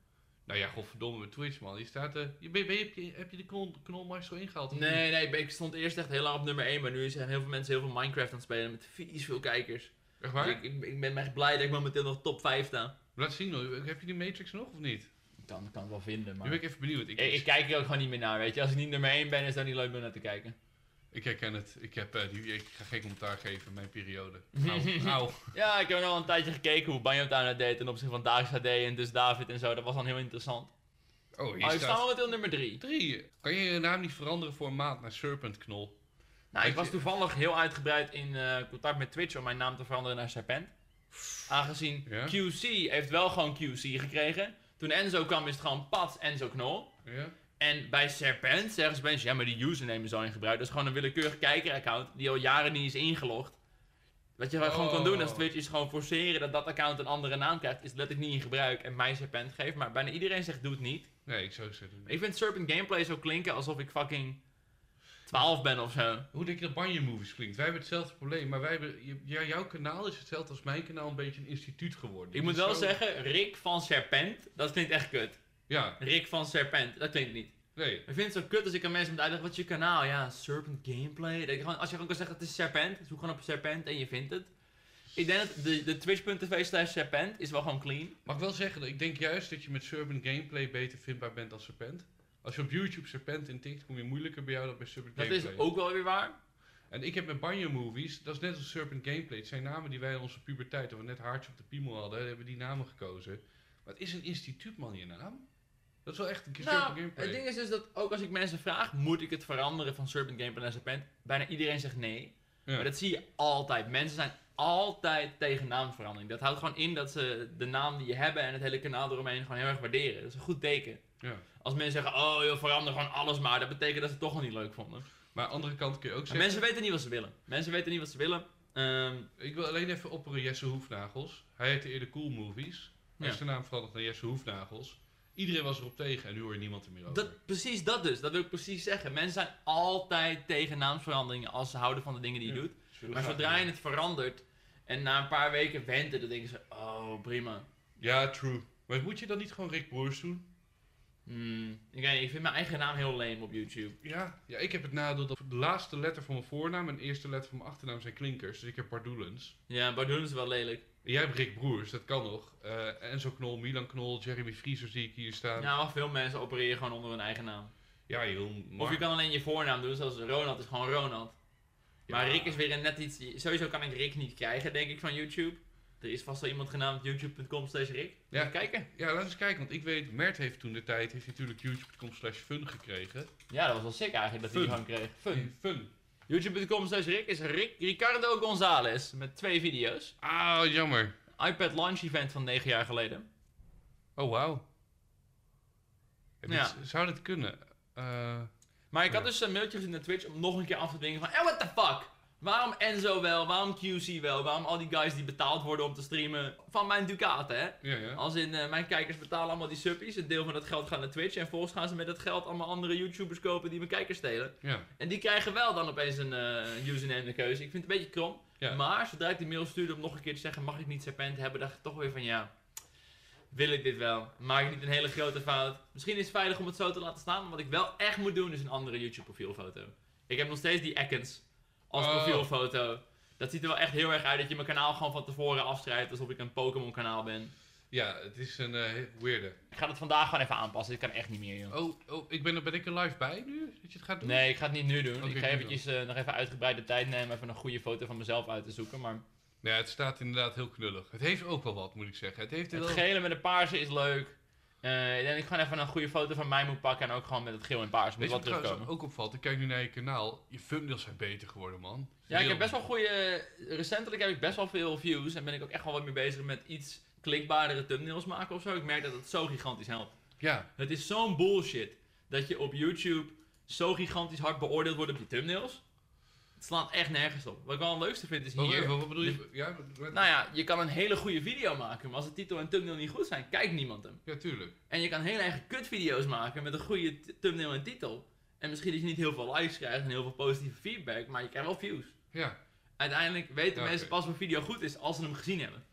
Speaker 1: nou ja, godverdomme met Twitch man. Je staat, eh, je, ben, ben- heb, je, heb je de knol, knolmars zo ingehaald? of niet?
Speaker 2: Nee, nee, ik ben- ik stond eerst echt heel lang op nummer 1, maar nu zijn heel veel mensen heel veel Minecraft aan het spelen met vies veel kijkers.
Speaker 1: Echt
Speaker 2: Dus
Speaker 1: waar?
Speaker 2: ik, ik, ik ben echt blij dat ik momenteel nog top 5 sta.
Speaker 1: Laat zien hoor. Heb je die Matrix nog of niet?
Speaker 2: Ik kan, ik kan het wel vinden,
Speaker 1: Nu
Speaker 2: maar...
Speaker 1: ben
Speaker 2: Ik,
Speaker 1: ik even benieuwd. Ik,
Speaker 2: ik
Speaker 1: ik,
Speaker 2: kijk er ook gewoon niet meer naar, weet je. Als ik niet nummer 1 ben, is dat niet leuk om naar te kijken.
Speaker 1: herken het. Ik, heb, eh, die, ik ga geen commentaar geven. Mijn
Speaker 2: (laughs)
Speaker 1: periode. Au. Au.
Speaker 2: Ja, ik heb nog wel een tijdje gekeken hoe Banjo Town het deed ten opzichte van Dags HD en dus David en zo. Dat was dan heel interessant.
Speaker 1: Oh,
Speaker 2: Maar
Speaker 1: hier
Speaker 2: ik sta
Speaker 1: staat...
Speaker 2: momenteel nummer 3.
Speaker 1: Drie. Kan je je naam niet veranderen voor een maand naar Serpent Knol?
Speaker 2: Nou, ik
Speaker 1: Weet
Speaker 2: was
Speaker 1: je-
Speaker 2: toevallig heel uitgebreid in eh, contact met Twitch om mijn naam te veranderen naar Serpent. Aangezien
Speaker 1: Ja?
Speaker 2: QC heeft wel gewoon QC gekregen. Toen Enzo kwam is het gewoon pats Enzo Knol.
Speaker 1: Ja?
Speaker 2: En bij Serpent zeggen ze mensen, ja maar die username is al in gebruik. Dat is gewoon een willekeurig kijkeraccount die al jaren niet is ingelogd. Wat je gewoon kan doen als
Speaker 1: Oh.
Speaker 2: Twitch is gewoon forceren dat dat account een andere naam krijgt. Is letterlijk niet in gebruik en mij Serpent geeft. Maar bijna iedereen zegt doe het niet.
Speaker 1: Nee, ik zou zeggen.
Speaker 2: Ik vind Serpent gameplay zo klinken alsof ik fucking 12 ben of zo.
Speaker 1: Hoe denk je dat Banje Movies klinkt? Wij hebben hetzelfde probleem, maar wij hebben, j- ja, jouw kanaal is hetzelfde als mijn kanaal, een beetje een instituut geworden. Dus
Speaker 2: Ik
Speaker 1: Het
Speaker 2: moet
Speaker 1: is
Speaker 2: wel
Speaker 1: zo-
Speaker 2: zeggen, Rick van Serpent, dat klinkt echt kut.
Speaker 1: Ja,
Speaker 2: Rick van Serpent, dat klinkt niet.
Speaker 1: nee.
Speaker 2: Ik vind het zo kut als ik aan mensen moet uitleggen, wat is je kanaal? Ja, Serpent Gameplay. Dat ik gewoon, als je gewoon kan zeggen, het is Serpent, zoek gewoon op Serpent en je vindt het. Ik denk dat de, de twitch.tv slash Serpent is wel gewoon clean.
Speaker 1: Mag ik wel zeggen, dat ik denk juist dat je met Serpent Gameplay beter vindbaar bent dan Serpent. Als je op YouTube Serpent intikt, kom je moeilijker bij jou dan bij Serpent
Speaker 2: Dat
Speaker 1: Gameplay.
Speaker 2: is ook wel weer waar.
Speaker 1: En ik heb met Banjo Movies, dat is net als Serpent Gameplay. Het zijn namen die wij in onze puberteit, toen we net haartje op de piemel hadden, hebben we die namen gekozen. Maar het is een instituut, man, je naam. Dat is wel echt een keer Serpent
Speaker 2: Nou,
Speaker 1: Gameplay.
Speaker 2: het ding is dus dat ook als ik mensen vraag, moet ik het veranderen van Serpent Gameplay naar Serpent? Bijna iedereen zegt nee.
Speaker 1: Ja.
Speaker 2: Maar dat zie je altijd. Mensen zijn altijd tegen naamverandering. Dat houdt gewoon in dat ze de naam die je hebben en het hele kanaal eromheen gewoon heel erg waarderen. Dat is een goed teken.
Speaker 1: Ja.
Speaker 2: Als mensen zeggen, oh joh, verander gewoon alles maar, dat betekent dat ze het toch al niet leuk vonden. Maar
Speaker 1: Maar aan de andere kant kun je ook zeggen...
Speaker 2: mensen weten niet wat ze willen. Mensen weten niet wat ze willen. Ehm,
Speaker 1: Ik wil alleen even opperen Jesse Hoefnagels. Hij heette eerder Cool Movies. Hij
Speaker 2: Ja.
Speaker 1: is de naam veranderd naar Jesse Hoefnagels. Iedereen was erop tegen en nu hoor je niemand er meer over.
Speaker 2: dat, precies dat dus. Dat wil ik precies zeggen. Mensen zijn altijd tegen naamsveranderingen als ze houden van de dingen die je
Speaker 1: Ja.
Speaker 2: doet.
Speaker 1: Zullen we
Speaker 2: Maar
Speaker 1: gaan
Speaker 2: zodra
Speaker 1: doen.
Speaker 2: je het verandert en na een paar weken went het, dan denken ze, oh prima.
Speaker 1: Ja, true. Maar moet je dan niet gewoon Rick Broers doen?
Speaker 2: Hmm, ik, weet niet, ik vind mijn eigen naam heel lame op YouTube.
Speaker 1: Ja. Ja, ik heb het nadeel dat de laatste letter van mijn voornaam en de eerste letter van mijn achternaam zijn klinkers. Dus ik heb Pardoelens.
Speaker 2: Ja, Bardoen is wel lelijk.
Speaker 1: En jij hebt Rick Broers, dat kan nog. Eh, Enzo Knol, Milan Knol, Jeremy Frieser zie ik hier staan. Ja,
Speaker 2: Nou, maar veel mensen opereren gewoon onder hun eigen naam.
Speaker 1: joh.
Speaker 2: Of
Speaker 1: Mark.
Speaker 2: je kan alleen je voornaam doen, zoals Ronald is gewoon Ronald. Maar
Speaker 1: Ja.
Speaker 2: Rick is weer een net iets... Sowieso kan ik Rick niet krijgen, denk ik, van YouTube. Er is vast wel iemand genaamd youtube.com slash Rick.
Speaker 1: Ja.
Speaker 2: Ja. Even kijken.
Speaker 1: Ja, laten we eens kijken. Want ik weet, Mert heeft toen de tijd, heeft natuurlijk youtube.com slash fun gekregen.
Speaker 2: Ja, dat was wel sick eigenlijk dat hij die
Speaker 1: Fun.
Speaker 2: gewoon kreeg. Fun.
Speaker 1: Fun.
Speaker 2: YouTube.com slash Rick is Rick Ricardo Gonzalez. Met twee video's.
Speaker 1: Ah, jammer.
Speaker 2: iPad launch event van negen jaar geleden.
Speaker 1: Oh, wauw. Heb je
Speaker 2: Ja.
Speaker 1: iets- Zou dit kunnen? Eh,
Speaker 2: Maar ik had
Speaker 1: Ja.
Speaker 2: dus een mailtje gezien naar Twitch om nog een keer af te dingen van... Eh, what the fuck? Waarom Enzo wel? Waarom QC wel? Waarom al die guys die betaald worden om te streamen? Van mijn ducaten, hè?
Speaker 1: ja, ja.
Speaker 2: Als in, eh, mijn kijkers betalen allemaal die suppies. Een deel van dat geld gaat naar Twitch. En volgens gaan ze met dat geld allemaal andere YouTubers kopen die mijn kijkers stelen.
Speaker 1: ja.
Speaker 2: En die krijgen wel dan opeens een eh, username de keuze. Ik vind het een beetje krom.
Speaker 1: Ja.
Speaker 2: Maar zodra ik die mail stuurde om nog een keer te zeggen, mag ik niet serpent hebben, dacht ik toch weer van ja, wil ik dit wel? Maak ik niet een hele grote fout? Misschien is het veilig om het zo te laten staan. Maar wat ik wel echt moet doen, is een andere YouTube profielfoto. Ik heb nog steeds die Atkins als
Speaker 1: Oh.
Speaker 2: profielfoto. Dat ziet er wel echt heel erg uit dat je mijn kanaal gewoon van tevoren afschrijft alsof ik een Pokémon kanaal ben.
Speaker 1: ja, het is een eh weirde.
Speaker 2: Ik ga het vandaag gewoon even aanpassen. Dit kan echt niet meer, joh.
Speaker 1: Oh, oh ik ben, er- ben ik er live bij nu? Dat je het gaat doen?
Speaker 2: Nee, ik ga het niet nu doen.
Speaker 1: Oké,
Speaker 2: ik ga
Speaker 1: nu
Speaker 2: eventjes eh, nog even uitgebreide tijd nemen. Even een goede foto van mezelf uit te zoeken. Maar
Speaker 1: Nee, het staat inderdaad heel knullig. Het heeft ook wel wat, moet ik zeggen. Het heeft
Speaker 2: Het
Speaker 1: wel...
Speaker 2: gele met de paarse is leuk. Eh, ik denk dat ik gewoon even een goede foto van mij moet pakken en ook gewoon met het geel en paars moet
Speaker 1: Weet je
Speaker 2: wel
Speaker 1: wat trouwens
Speaker 2: terugkomen.
Speaker 1: ook opvalt? Ik kijk nu naar je kanaal. Je thumbnails zijn beter geworden, man.
Speaker 2: Ja, ik
Speaker 1: Heel-
Speaker 2: heb best wel goede. Recentelijk heb ik best wel veel views en ben ik ook echt wel wat mee bezig met iets klikbaardere thumbnails maken of zo. Ik merk dat het zo gigantisch helpt.
Speaker 1: Ja,
Speaker 2: Het is zo'n bullshit dat je op YouTube zo gigantisch hard beoordeeld wordt op je thumbnails. Het slaat echt nergens op. Wat ik wel het leukste vind is
Speaker 1: wat,
Speaker 2: hier.
Speaker 1: Oh, wat, wat bedoel je? Ja, wat- wat-
Speaker 2: Nou ja, je kan een hele goede video maken, maar als de titel en thumbnail niet goed zijn, kijkt niemand hem.
Speaker 1: ja, tuurlijk.
Speaker 2: En je kan hele eigen kutvideo's maken met een goede t- thumbnail en titel. En misschien dat je niet heel veel likes krijgt en heel veel positieve feedback, maar je krijgt wel views.
Speaker 1: Ja,
Speaker 2: Uiteindelijk weten
Speaker 1: Ja, oké.
Speaker 2: mensen pas of een video goed is als ze hem gezien hebben.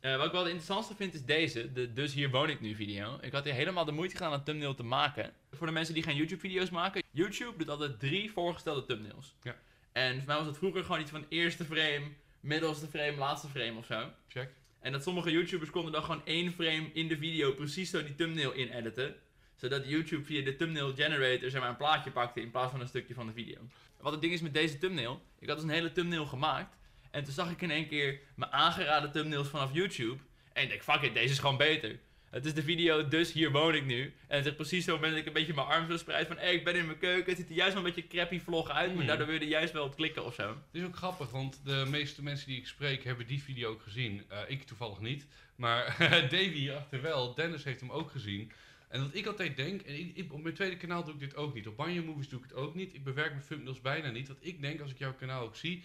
Speaker 2: Eh, wat ik wel het interessantste vind is deze, de Dus hier woon ik nu video. Ik had hier helemaal de moeite gedaan een thumbnail te maken. Voor de mensen die geen YouTube video's maken, YouTube doet altijd drie voorgestelde thumbnails.
Speaker 1: Ja.
Speaker 2: En voor mij was dat vroeger gewoon iets van eerste frame, middelste frame, laatste frame of zo.
Speaker 1: check.
Speaker 2: En dat sommige YouTubers konden dan gewoon één frame in de video precies zo die thumbnail in editen. Zodat YouTube via de thumbnail generator zeg maar, een plaatje pakte in plaats van een stukje van de video. Wat het ding is met deze thumbnail, ik had dus een hele thumbnail gemaakt. En toen zag ik in één keer mijn aangeraden thumbnails vanaf YouTube. En ik denk, fuck it, deze is gewoon beter. Het is de video, dus hier woon ik nu. En het is precies zo moment dat ik een beetje mijn arm zo spreid van... Hey, ik ben in mijn keuken, het ziet er juist wel een beetje crappy vlog uit. Maar
Speaker 1: Mm.
Speaker 2: daardoor wil je er juist wel op klikken of zo.
Speaker 1: Het is ook grappig, want de meeste mensen die ik spreek hebben die video ook gezien. Eh, ik toevallig niet, maar (laughs) Davy hierachter wel. Dennis heeft hem ook gezien. En wat ik altijd denk, en ik, ik- op mijn tweede kanaal doe ik dit ook niet. Op Banjo Movies doe ik het ook niet. Ik bewerk mijn thumbnails bijna niet. Want ik denk, als ik jouw kanaal ook zie,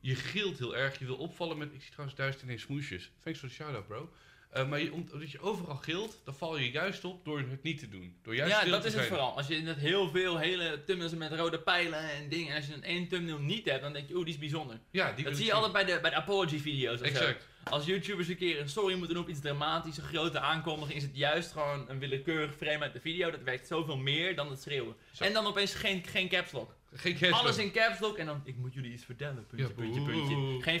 Speaker 1: je gilt heel erg. Je wil opvallen met, ik zie trouwens duizend en één smoesjes. Thanks voor de shout-out, bro. Eh, maar je, om- omdat je overal gilt, dan val je juist op door het niet te doen. Door juist
Speaker 2: ja,
Speaker 1: stil
Speaker 2: dat
Speaker 1: te
Speaker 2: is het
Speaker 1: zijn.
Speaker 2: vooral. Als je net heel veel hele thumbnails hebt met rode pijlen en dingen. En als je dan één thumbnail niet hebt, dan denk je, oeh, die is bijzonder.
Speaker 1: Ja, die wil
Speaker 2: dat
Speaker 1: ik
Speaker 2: zie je
Speaker 1: zien.
Speaker 2: altijd bij de, bij de apology video's of zo.
Speaker 1: Exact.
Speaker 2: Als YouTubers een keer een sorry moeten doen op iets dramatisch, een grote aankondiging, is het juist gewoon een willekeurig frame uit de video. Dat werkt zoveel meer dan het schreeuwen.
Speaker 1: Zo.
Speaker 2: En dan opeens geen, geen caps lock.
Speaker 1: Geen cancel.
Speaker 2: Alles in caps lock en dan, ik moet jullie iets vertellen, puntje,
Speaker 1: Ja,
Speaker 2: puntje,
Speaker 1: boe.
Speaker 2: puntje. Geen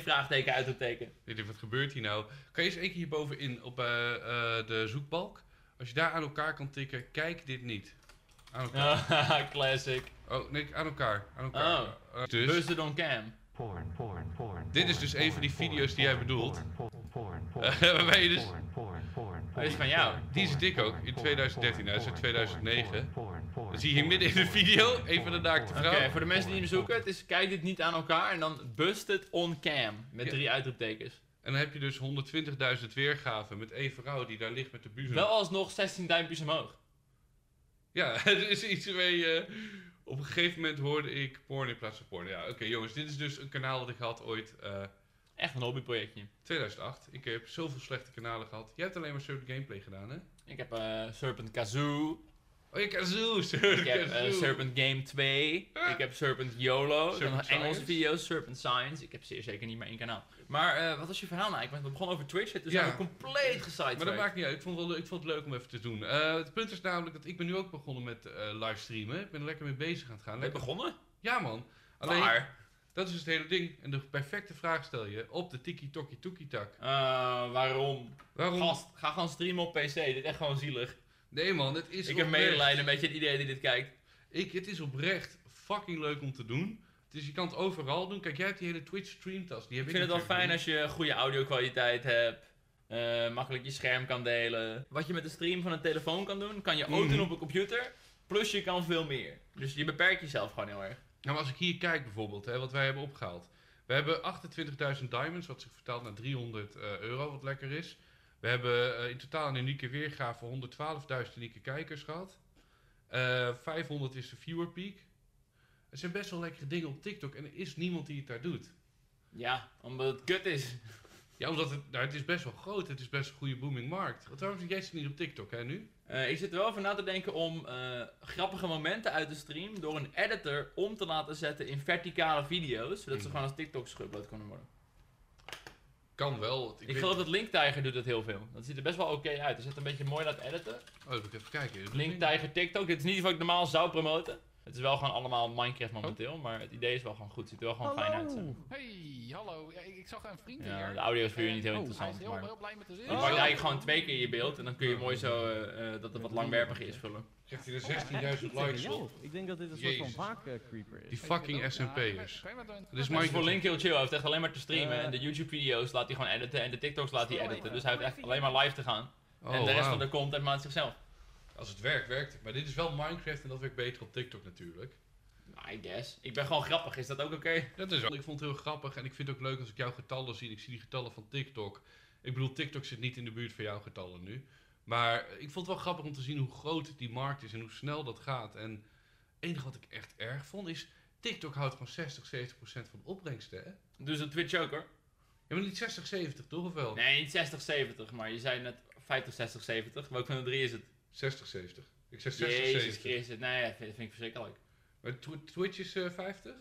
Speaker 1: (laughs)
Speaker 2: vraagteken, uitroepteken.
Speaker 1: Ik denk, wat gebeurt hier nou? Kan je eens één keer hierbovenin op eh, eh, de zoekbalk? Als je daar aan elkaar kan tikken, kijk dit niet. Aan elkaar.
Speaker 2: Ah, (laughs) Classic.
Speaker 1: Oh, nee, aan elkaar. Aan elkaar.
Speaker 2: Oh.
Speaker 1: Eh, dus,
Speaker 2: Busted on cam.
Speaker 3: Porn, porn, porn,
Speaker 1: Dit is dus
Speaker 3: porn,
Speaker 1: een van die
Speaker 3: porn,
Speaker 1: video's die jij
Speaker 3: porn,
Speaker 1: bedoelt.
Speaker 3: porn, porn, porn,
Speaker 1: Eh, (laughs)
Speaker 3: porn,
Speaker 1: waarbij je
Speaker 3: porn,
Speaker 1: dus-
Speaker 3: porn, porn, porn,
Speaker 2: Dit is van
Speaker 3: porn,
Speaker 2: jou.
Speaker 3: porn,
Speaker 1: Die is
Speaker 3: porn,
Speaker 1: dik ook, in
Speaker 3: porn,
Speaker 1: 2013, hij is uit
Speaker 3: porn,
Speaker 1: 2009.
Speaker 3: porn, porn, porn,
Speaker 1: Dan zie je hier midden in de
Speaker 3: porn,
Speaker 1: video,
Speaker 3: porn,
Speaker 1: een van de
Speaker 3: porn,
Speaker 1: naakte
Speaker 3: porn,
Speaker 2: Oké,
Speaker 1: vrouwen.
Speaker 2: voor de mensen die hem zoeken, het is kijk dit niet aan elkaar en dan busted on cam. Met
Speaker 1: Ja.
Speaker 2: drie uitroeptekens.
Speaker 1: En dan heb je dus 120.000 weergaven met één vrouw die daar ligt met de buzen.
Speaker 2: Wel alsnog 16 duimpjes omhoog.
Speaker 1: Ja, (laughs) er is iets mee. eh, op een gegeven moment hoorde ik porn in plaats van porn. Ja, oké jongens, dit is dus een kanaal dat ik had ooit. eh,
Speaker 2: Echt een hobbyprojectje.
Speaker 1: 2008. Ik heb zoveel slechte kanalen gehad. Jij hebt alleen maar Surf Gameplay gedaan, hè?
Speaker 2: Ik heb eh, Serpent Kazoo.
Speaker 1: Oh, je Kazoo,
Speaker 2: Ik heb eh, Serpent Game 2.
Speaker 1: Ah.
Speaker 2: Ik heb Serpent YOLO. Ik heb nog
Speaker 1: Serpent
Speaker 2: Engelse
Speaker 1: Science.
Speaker 2: video's. Serpent Science. Ik heb zeer zeker niet maar één kanaal. Maar eh, wat was je verhaal nou? Ik ben begonnen over Twitch. Toen zijn
Speaker 1: Ja.
Speaker 2: we compleet gesidetracked.
Speaker 1: Maar dat maakt niet uit. Ik vond, het wel, leuk- ik vond het leuk om even te doen. Eh, het punt is namelijk dat ik ben nu ook begonnen met eh livestreamen. Ik ben er lekker mee bezig aan het gaan.
Speaker 2: Ben je
Speaker 1: Lekker...
Speaker 2: begonnen?
Speaker 1: Ja, man. Alleen,
Speaker 2: Alleen... Waar?
Speaker 1: dat is dus het hele ding. En de perfecte vraag stel je op de tiki toki toki tak.
Speaker 2: Eh, waarom?
Speaker 1: Waarom?
Speaker 2: Gast, ga gewoon streamen op PC. Dit is echt gewoon zielig.
Speaker 1: Nee, man. Het is
Speaker 2: ik heb
Speaker 1: oprecht-
Speaker 2: medelijden met je, iedereen die dit kijkt.
Speaker 1: Ik, het is oprecht fucking leuk om te doen. Dus je kan het overal doen. Kijk, jij hebt die hele Twitch streamtas. Die
Speaker 2: Ik
Speaker 1: heb ik,
Speaker 2: vind het wel
Speaker 1: natuurlijk
Speaker 2: fijn
Speaker 1: niet.
Speaker 2: als je goede audiokwaliteit hebt. eh, makkelijk je scherm kan delen. Wat je met de stream van een telefoon kan doen, kan je ook
Speaker 1: Mhm.
Speaker 2: doen op een computer. Plus je kan veel meer. Dus je beperkt jezelf gewoon heel erg.
Speaker 1: Nou, maar als ik hier kijk bijvoorbeeld, hè, wat wij hebben opgehaald. We hebben 28.000 diamonds, wat zich vertaalt naar 300 eh, euro, wat lekker is. We hebben eh, in totaal een unieke weergave 112.000 unieke kijkers gehad. Eh, 500 is de viewer peak. Het zijn best wel lekkere dingen op TikTok en er is niemand die het daar doet.
Speaker 2: Ja, omdat het kut is.
Speaker 1: Ja, omdat het, nou, het is best wel groot, het is best een goede booming markt. Want waarom zit jij zit niet op TikTok, hè, nu?
Speaker 2: Eh, ik zit er wel over na te denken om eh, grappige momenten uit de stream door een editor om te laten zetten in verticale video's. Zodat
Speaker 1: Mhm.
Speaker 2: ze gewoon als TikToks geüpload kunnen worden.
Speaker 1: Kan wel. want
Speaker 2: Ik,
Speaker 1: Ik, weet-
Speaker 2: geloof dat Link Tiger doet dat heel veel. Dat ziet er best wel oké uit. Hij zit een beetje mooi laten editen.
Speaker 1: Oh, dat moet ik even kijken.
Speaker 2: Link Tiger TikTok. Dit is niet wat ik normaal zou promoten. Het is wel gewoon allemaal Minecraft momenteel, maar het idee is wel gewoon goed. Het ziet er wel gewoon fijn uit. zeg maar.
Speaker 4: Hey, hallo. Ja, ik, ik zag een vriend
Speaker 2: Ja,
Speaker 4: hier.
Speaker 2: de audio is voor
Speaker 4: Eh,
Speaker 2: jullie niet heel
Speaker 4: oh, Hij is
Speaker 2: interessant,
Speaker 4: heel,
Speaker 2: maar-
Speaker 4: heel blij met de zin. Oh.
Speaker 2: Je pakt eigenlijk gewoon twee keer je beeld en dan kun je mooi zo eh, eh, dat het wat langwerpig is vullen.
Speaker 1: Krijgt hij
Speaker 5: Oh, hij- hij
Speaker 1: er
Speaker 2: (laughs)
Speaker 1: 16.000
Speaker 5: kiekt tegen
Speaker 1: likes
Speaker 5: jou.
Speaker 1: op?
Speaker 5: Ik denk dat dit een soort van
Speaker 1: Jezus.
Speaker 5: vaak-creeper is.
Speaker 1: Die fucking SNP'ers. Dit is
Speaker 2: Maar
Speaker 1: Minecraft.
Speaker 2: is voor Link heel chill, hij heeft echt alleen maar te streamen
Speaker 5: Eh.
Speaker 2: en de YouTube-video's laat hij gewoon editen en de TikToks laat hij
Speaker 5: Stel
Speaker 2: editen.
Speaker 5: even.
Speaker 2: Dus hij heeft echt alleen maar live te gaan.
Speaker 1: Oh,
Speaker 2: en de rest van
Speaker 1: wauw.
Speaker 2: de content maakt zichzelf.
Speaker 1: Als het werkt, werkt het. Maar dit is wel Minecraft en dat werkt beter op TikTok natuurlijk.
Speaker 2: I guess. Ik ben gewoon grappig, is dat ook oké?
Speaker 1: Dat is ook. Ik vond het heel grappig en ik vind het ook leuk als ik jouw getallen zie. Ik zie die getallen van TikTok. Ik bedoel, TikTok zit niet in de buurt van jouw getallen nu. Maar ik vond het wel grappig om te zien hoe groot die markt is en hoe snel dat gaat. En het enige wat ik echt erg vond is, TikTok houdt gewoon 60, 70 procent van de opbrengsten, hè?
Speaker 2: Dus op Twitch ook hoor.
Speaker 1: Ja, maar niet 60, 70, toch? Of wel?
Speaker 2: Nee, niet 60, 70, maar je zei net 50, 60, 70. Welk van de drie is het?
Speaker 1: 60, 70. Ik zeg 60,
Speaker 2: Jezus
Speaker 1: 70.
Speaker 2: Christus, nee, dat vind, vind ik verschrikkelijk.
Speaker 1: Maar Tw- Twitch is eh, 50?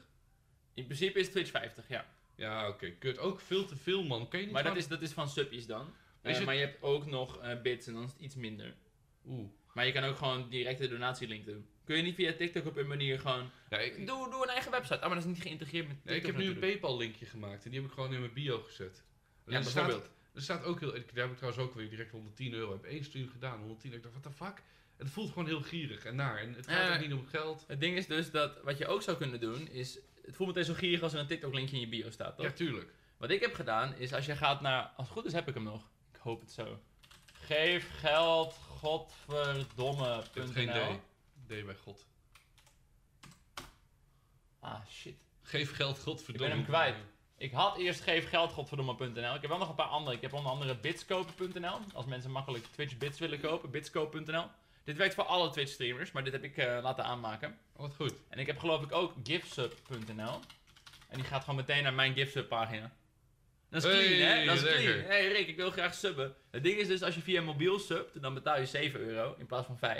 Speaker 2: In principe is Twitch 50, ja.
Speaker 1: Ja, oké, kut. Ook veel te veel, man. Kan je niet
Speaker 2: Maar dat
Speaker 1: gewoon-
Speaker 2: is, dat is van subjes dan.
Speaker 1: Is
Speaker 2: Eh,
Speaker 1: het-
Speaker 2: Maar je hebt ook nog eh, bits en dan is het iets minder.
Speaker 1: Oeh.
Speaker 2: Maar je kan ook gewoon direct de donatielink doen. Kun je niet via TikTok op een manier gewoon...
Speaker 1: Ja, ik,
Speaker 2: Doe, doe een eigen website. Ah, maar dat is niet geïntegreerd met TikTok
Speaker 1: Nee, ik heb nu een
Speaker 2: natuurlijk.
Speaker 1: PayPal-linkje gemaakt en die heb ik gewoon in mijn bio gezet. En
Speaker 2: Ja,
Speaker 1: er staat,
Speaker 2: bijvoorbeeld.
Speaker 1: er staat ook heel. ik- Daar heb ik trouwens ook weer direct 110 euro. Ik heb één stream gedaan, 110. Ik dacht, wat de fuck? Het voelt gewoon heel gierig en naar. En het gaat
Speaker 2: Ja.
Speaker 1: ook niet om geld.
Speaker 2: Het ding is dus dat wat je ook zou kunnen doen is... Het voelt meteen zo gierig als er een TikTok linkje in je bio staat, toch?
Speaker 1: Ja, tuurlijk.
Speaker 2: Wat ik heb gedaan is als je gaat naar... Als het goed is heb ik hem nog. Ik hoop het zo. Geef geld
Speaker 1: Ik heb geen
Speaker 2: godverdomme.nl
Speaker 1: D. D bij God.
Speaker 2: Ah, shit.
Speaker 1: Geef geld, godverdomme.
Speaker 2: Ik ben hem kwijt. Ik had eerst geefgeldgodverdomme.nl. Ik heb wel nog een paar andere. Ik heb onder andere bitskopen.nl. Als mensen makkelijk Twitch bits willen kopen, bitskoop.nl. Dit werkt voor alle Twitch streamers, maar dit heb ik eh, laten aanmaken.
Speaker 1: Oh, wat goed.
Speaker 2: En ik heb geloof ik ook gifsub.nl. En die gaat gewoon meteen naar mijn gifsub pagina. Dat is
Speaker 1: Hey,
Speaker 2: clean, hè? Dat is clean.
Speaker 1: lekker.
Speaker 2: hey, Rick, ik wil graag subben. Het ding is dus, als je via mobiel subt, dan betaal je 7 euro in plaats van 5.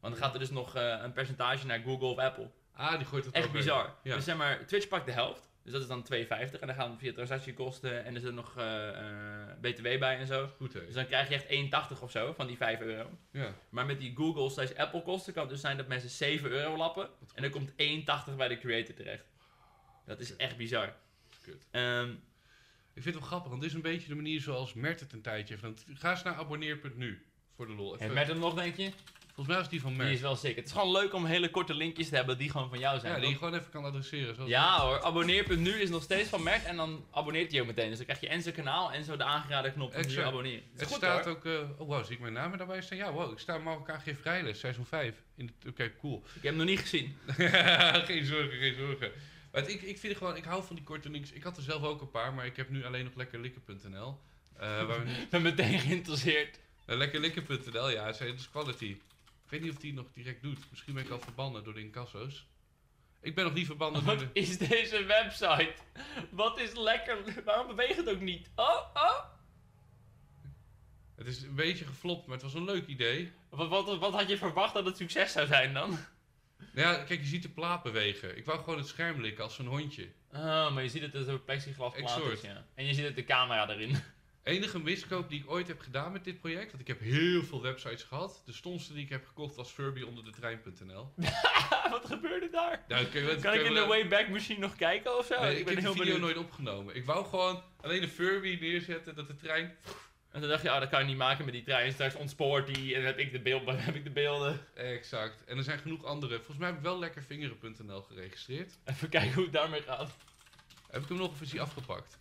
Speaker 2: Want dan gaat er dus nog eh, een percentage naar Google of Apple.
Speaker 1: Ah, die gooit het
Speaker 2: Echt
Speaker 1: ook weer.
Speaker 2: bizar.
Speaker 1: Ja.
Speaker 2: Dus zeg maar, Twitch pakt de helft. Dus dat is dan 2,50. En dan gaan via transactiekosten en er zit nog eh, eh, BTW bij en zo.
Speaker 1: Goed, hè?
Speaker 2: Dus dan krijg je echt 1,80 of zo van die 5 euro.
Speaker 1: Ja.
Speaker 2: Maar met die Google slash Apple kosten kan het dus zijn dat mensen 7 euro lappen. En dan komt 1,80 bij de creator terecht. Dat is echt bizar.
Speaker 1: Kut.
Speaker 2: Ehm,
Speaker 1: Ik vind het wel grappig, want dit is een beetje de manier zoals Mert het een tijdje heeft. Want Ga eens naar abonneer.nu voor de lol. Even-
Speaker 2: heeft Mert hem nog, denk je?
Speaker 1: Volgens mij is die van
Speaker 2: Die is
Speaker 1: Mert.
Speaker 2: wel sick. Het is gewoon leuk om hele korte linkjes te hebben die gewoon van jou zijn.
Speaker 1: Ja, die je
Speaker 2: toch?
Speaker 1: gewoon even kan adresseren. Zoals
Speaker 2: Ja hoor, abonneer.nu is nog steeds van Mert en dan abonneert hij ook meteen. Dus dan krijg je en zijn kanaal en zo de aangeraden knop om je
Speaker 1: Exact.
Speaker 2: abonneer. Het is
Speaker 1: Het
Speaker 2: goed,
Speaker 1: staat
Speaker 2: hoor.
Speaker 1: ook, eh, oh wow, zie ik mijn naam daarbij staan? Ja, wow, ik sta Marokkaan Gif Rijles, seizoen 5. In de- Oké, cool. (laughs)
Speaker 2: Ik heb hem nog niet gezien.
Speaker 1: geen zorgen, geen zorgen. Maar het- ik, ik vind gewoon, ik hou van die korte links. Ik had er zelf ook een paar, maar ik heb nu alleen nog lekkerlikken.nl.
Speaker 2: (laughs)
Speaker 1: Eh waar we nu-
Speaker 2: Ik ben meteen geïnteresseerd.
Speaker 1: eh, lekkerlikken.nl, ja, het zijn- dat is quality. Ik weet niet of die het nog direct doet. Misschien ben ik al verbannen door de incasso's. Ik ben nog niet verbannen door
Speaker 2: Wat
Speaker 1: de...
Speaker 2: is deze website? Wat is lekker? Waarom beweegt het ook niet? Oh, oh.
Speaker 1: Het is een beetje geflopt, maar het was een leuk idee.
Speaker 2: Wat, wat, wat had je verwacht dat het succes zou zijn dan?
Speaker 1: Nou ja, kijk, je ziet de plaat bewegen. Ik wou gewoon het scherm likken als zo'n hondje.
Speaker 2: Oh, maar je ziet dat het een plexiglas plaat
Speaker 1: Exact.
Speaker 2: is, dus, ja. En je ziet het de camera erin. (laughs)
Speaker 1: enige miskoop die ik ooit heb gedaan met dit project, want ik heb heel veel websites gehad. De stomste die ik heb gekocht was Furby onder de trein.nl.
Speaker 2: (laughs) wat gebeurde daar?
Speaker 1: Nou, oké, wat-
Speaker 2: Kan ik in de
Speaker 1: wel-
Speaker 2: Wayback Machine nog kijken of zo?
Speaker 1: Nee, ik,
Speaker 2: ik ben
Speaker 1: heb
Speaker 2: heel
Speaker 1: die video
Speaker 2: benieuwd.
Speaker 1: nooit opgenomen. Ik wou gewoon alleen een Furby neerzetten dat de trein.
Speaker 2: En toen dacht je, oh, dat kan je niet maken met die trein. Straks ontspoort die en dan heb ik de, beeld, dan heb ik de beelden. (laughs)
Speaker 1: Exact. En er zijn genoeg andere. Volgens mij heb ik wel lekkervingeren.nl geregistreerd.
Speaker 2: Even kijken hoe het daarmee gaat.
Speaker 1: Heb ik hem nog even afgepakt?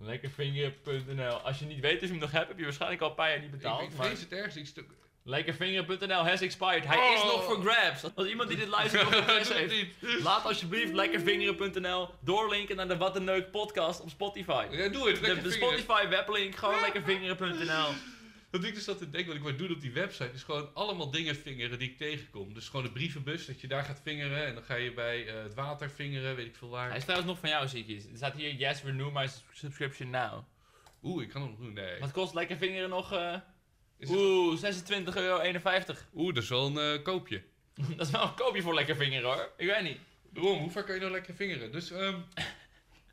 Speaker 2: Lekkervinger.nl. Als je niet weet of je hem nog hebt, heb je waarschijnlijk al een paar jaar niet betaald.
Speaker 1: ik, ik
Speaker 2: Nou, maar-
Speaker 1: vrees het ergste. Ik
Speaker 2: (laughs)
Speaker 1: stuk. (laughs)
Speaker 2: Lekkervinger.nl has expired. Hij is
Speaker 1: Oh.
Speaker 2: nog voor grabs. Als iemand die dit luistert nog
Speaker 1: (laughs)
Speaker 2: voor grabs
Speaker 1: Doe het
Speaker 2: heeft,
Speaker 1: niet.
Speaker 2: laat alsjeblieft lekkervingeren.nl doorlinken naar de Wat een Neuk podcast op Spotify.
Speaker 1: Ja, doe het.
Speaker 2: De, de
Speaker 1: Lekker vingeren.
Speaker 2: Spotify weblink, gewoon lekkervingeren.nl.
Speaker 1: Dat ik dus dat te denken, wat ik wou doen op die website, is gewoon allemaal dingen vingeren die ik tegenkom. Dus gewoon de brievenbus, dat je daar gaat vingeren en dan ga je bij eh, het water vingeren, weet ik veel waar.
Speaker 2: Hij is trouwens nog van jou, zie ik hier. Er staat hier, yes, renew my subscription now.
Speaker 1: Oeh, ik kan hem nog doen, nee.
Speaker 2: Wat kost Lekkervingeren nog? eh,
Speaker 1: Is het-
Speaker 2: Oeh, 26,51
Speaker 1: Oeh, dat is wel een eh, koopje.
Speaker 2: (laughs) Dat is wel een koopje voor Lekkervingeren hoor. Ik weet niet.
Speaker 1: Waarom? Hoe vaak kan je nou lekker vingeren? Dus ehm,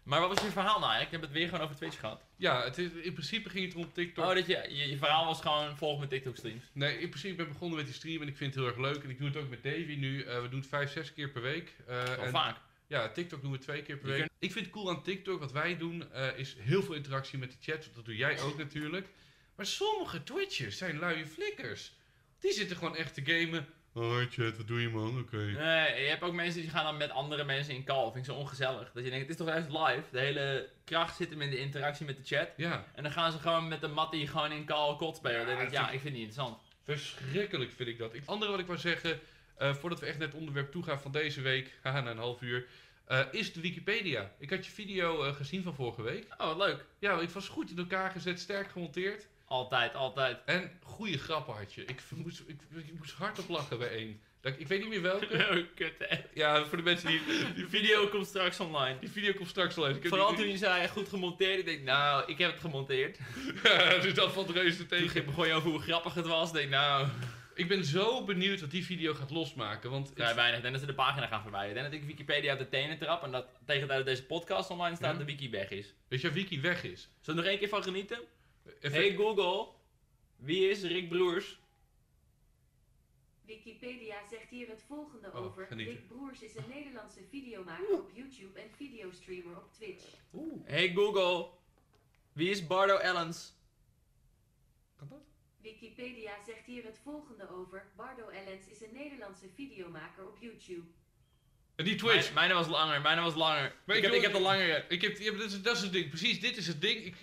Speaker 2: Maar wat was je verhaal nou eigenlijk? Ik heb het weer gewoon over Twitch gehad.
Speaker 1: Ja, het is, in principe ging het om TikTok.
Speaker 2: Oh, dat je, je, je verhaal was gewoon volg mijn TikTok streams.
Speaker 1: Nee, in principe ben ik begonnen met die stream en ik vind het heel erg leuk. En ik doe het ook met Davy nu. Eh, we doen het vijf, zes keer per week. Eh,
Speaker 2: Wel
Speaker 1: en-
Speaker 2: vaak.
Speaker 1: Ja, TikTok doen we twee keer per
Speaker 2: Je
Speaker 1: week. Ik vind het cool aan TikTok, wat wij doen, eh, is heel veel interactie met de chat. want Dat doe jij ook natuurlijk. Maar sommige Twitchers zijn luie flikkers. Die zitten gewoon echt te gamen. Oh, hey chat, wat doe je man? Oké.
Speaker 2: Nee, je hebt ook mensen die gaan dan met andere mensen in call. Vind ik zo ongezellig. Dat je denkt, het is toch juist live? De hele kracht zit hem in de interactie met de chat.
Speaker 1: Ja,
Speaker 2: En dan gaan ze gewoon met de mattie gewoon in call kot spelen.
Speaker 1: Ja,
Speaker 2: dan denk ik,
Speaker 1: dat
Speaker 2: ja,
Speaker 1: is-
Speaker 2: ik vind het niet interessant.
Speaker 1: verschrikkelijk vind ik dat. Het andere wat ik wou zeggen, eh, voordat we echt naar het onderwerp toe gaan van deze week, (laughs) haha, na een half uur, eh, is de Wikipedia. Ik had je video eh, gezien van vorige week.
Speaker 2: Oh, wat leuk.
Speaker 1: Ja, het was goed in elkaar gezet, sterk gemonteerd.
Speaker 2: Altijd, altijd.
Speaker 1: (laughs) En goede grappen had je. Ik (laughs) moest, ik, ik moest hardop lachen bij één. Dat- Ik weet niet meer welke.
Speaker 2: Oh, kut, hè.
Speaker 1: Ja, voor de mensen die...
Speaker 2: Die
Speaker 1: die
Speaker 2: video komt straks online.
Speaker 1: die video komt straks al even. Ik heb
Speaker 2: Vooral
Speaker 1: die-
Speaker 2: toen je zei, goed gemonteerd. Ik denk, nou, ik heb het
Speaker 1: (laughs)
Speaker 2: gemonteerd.
Speaker 1: Ja, dus dat valt reuze
Speaker 2: Toen
Speaker 1: tegen.
Speaker 2: ging- begon je over hoe grappig het was. Ik denk, nou,
Speaker 1: Ik ben zo benieuwd wat die video gaat losmaken. Want ik-
Speaker 2: vrij weinig. Ik denk dat ze de pagina gaan verwijderen. Ik denk dat ik Wikipedia uit de tenen trap. En dat tegen de tijd dat deze podcast online staat,
Speaker 1: Ja.
Speaker 2: de wiki weg is.
Speaker 1: weet je, wiki weg is.
Speaker 2: Zullen we er nog één keer van genieten?
Speaker 1: Even-
Speaker 2: Hey Google, wie is Rick Broers?
Speaker 5: Wikipedia zegt hier het volgende
Speaker 1: Oh,
Speaker 5: over.
Speaker 1: genieten.
Speaker 5: Rick Broers is een Nederlandse videomaker op YouTube en videostreamer op Twitch.
Speaker 2: Hey Google, wie is Bardo Ellens?
Speaker 1: Kan dat?
Speaker 5: Wikipedia zegt hier het volgende over. Bardo Ellens is een Nederlandse videomaker op YouTube.
Speaker 1: En Eh, die Twitch.
Speaker 2: Mijn, mijne was langer, mijne was langer.
Speaker 1: Maar ik
Speaker 2: ik, heb, ik
Speaker 1: wil-
Speaker 2: heb de langere.
Speaker 1: Ik heb, ja, maar dat, is, dat is het ding. Precies, dit is het ding. Ik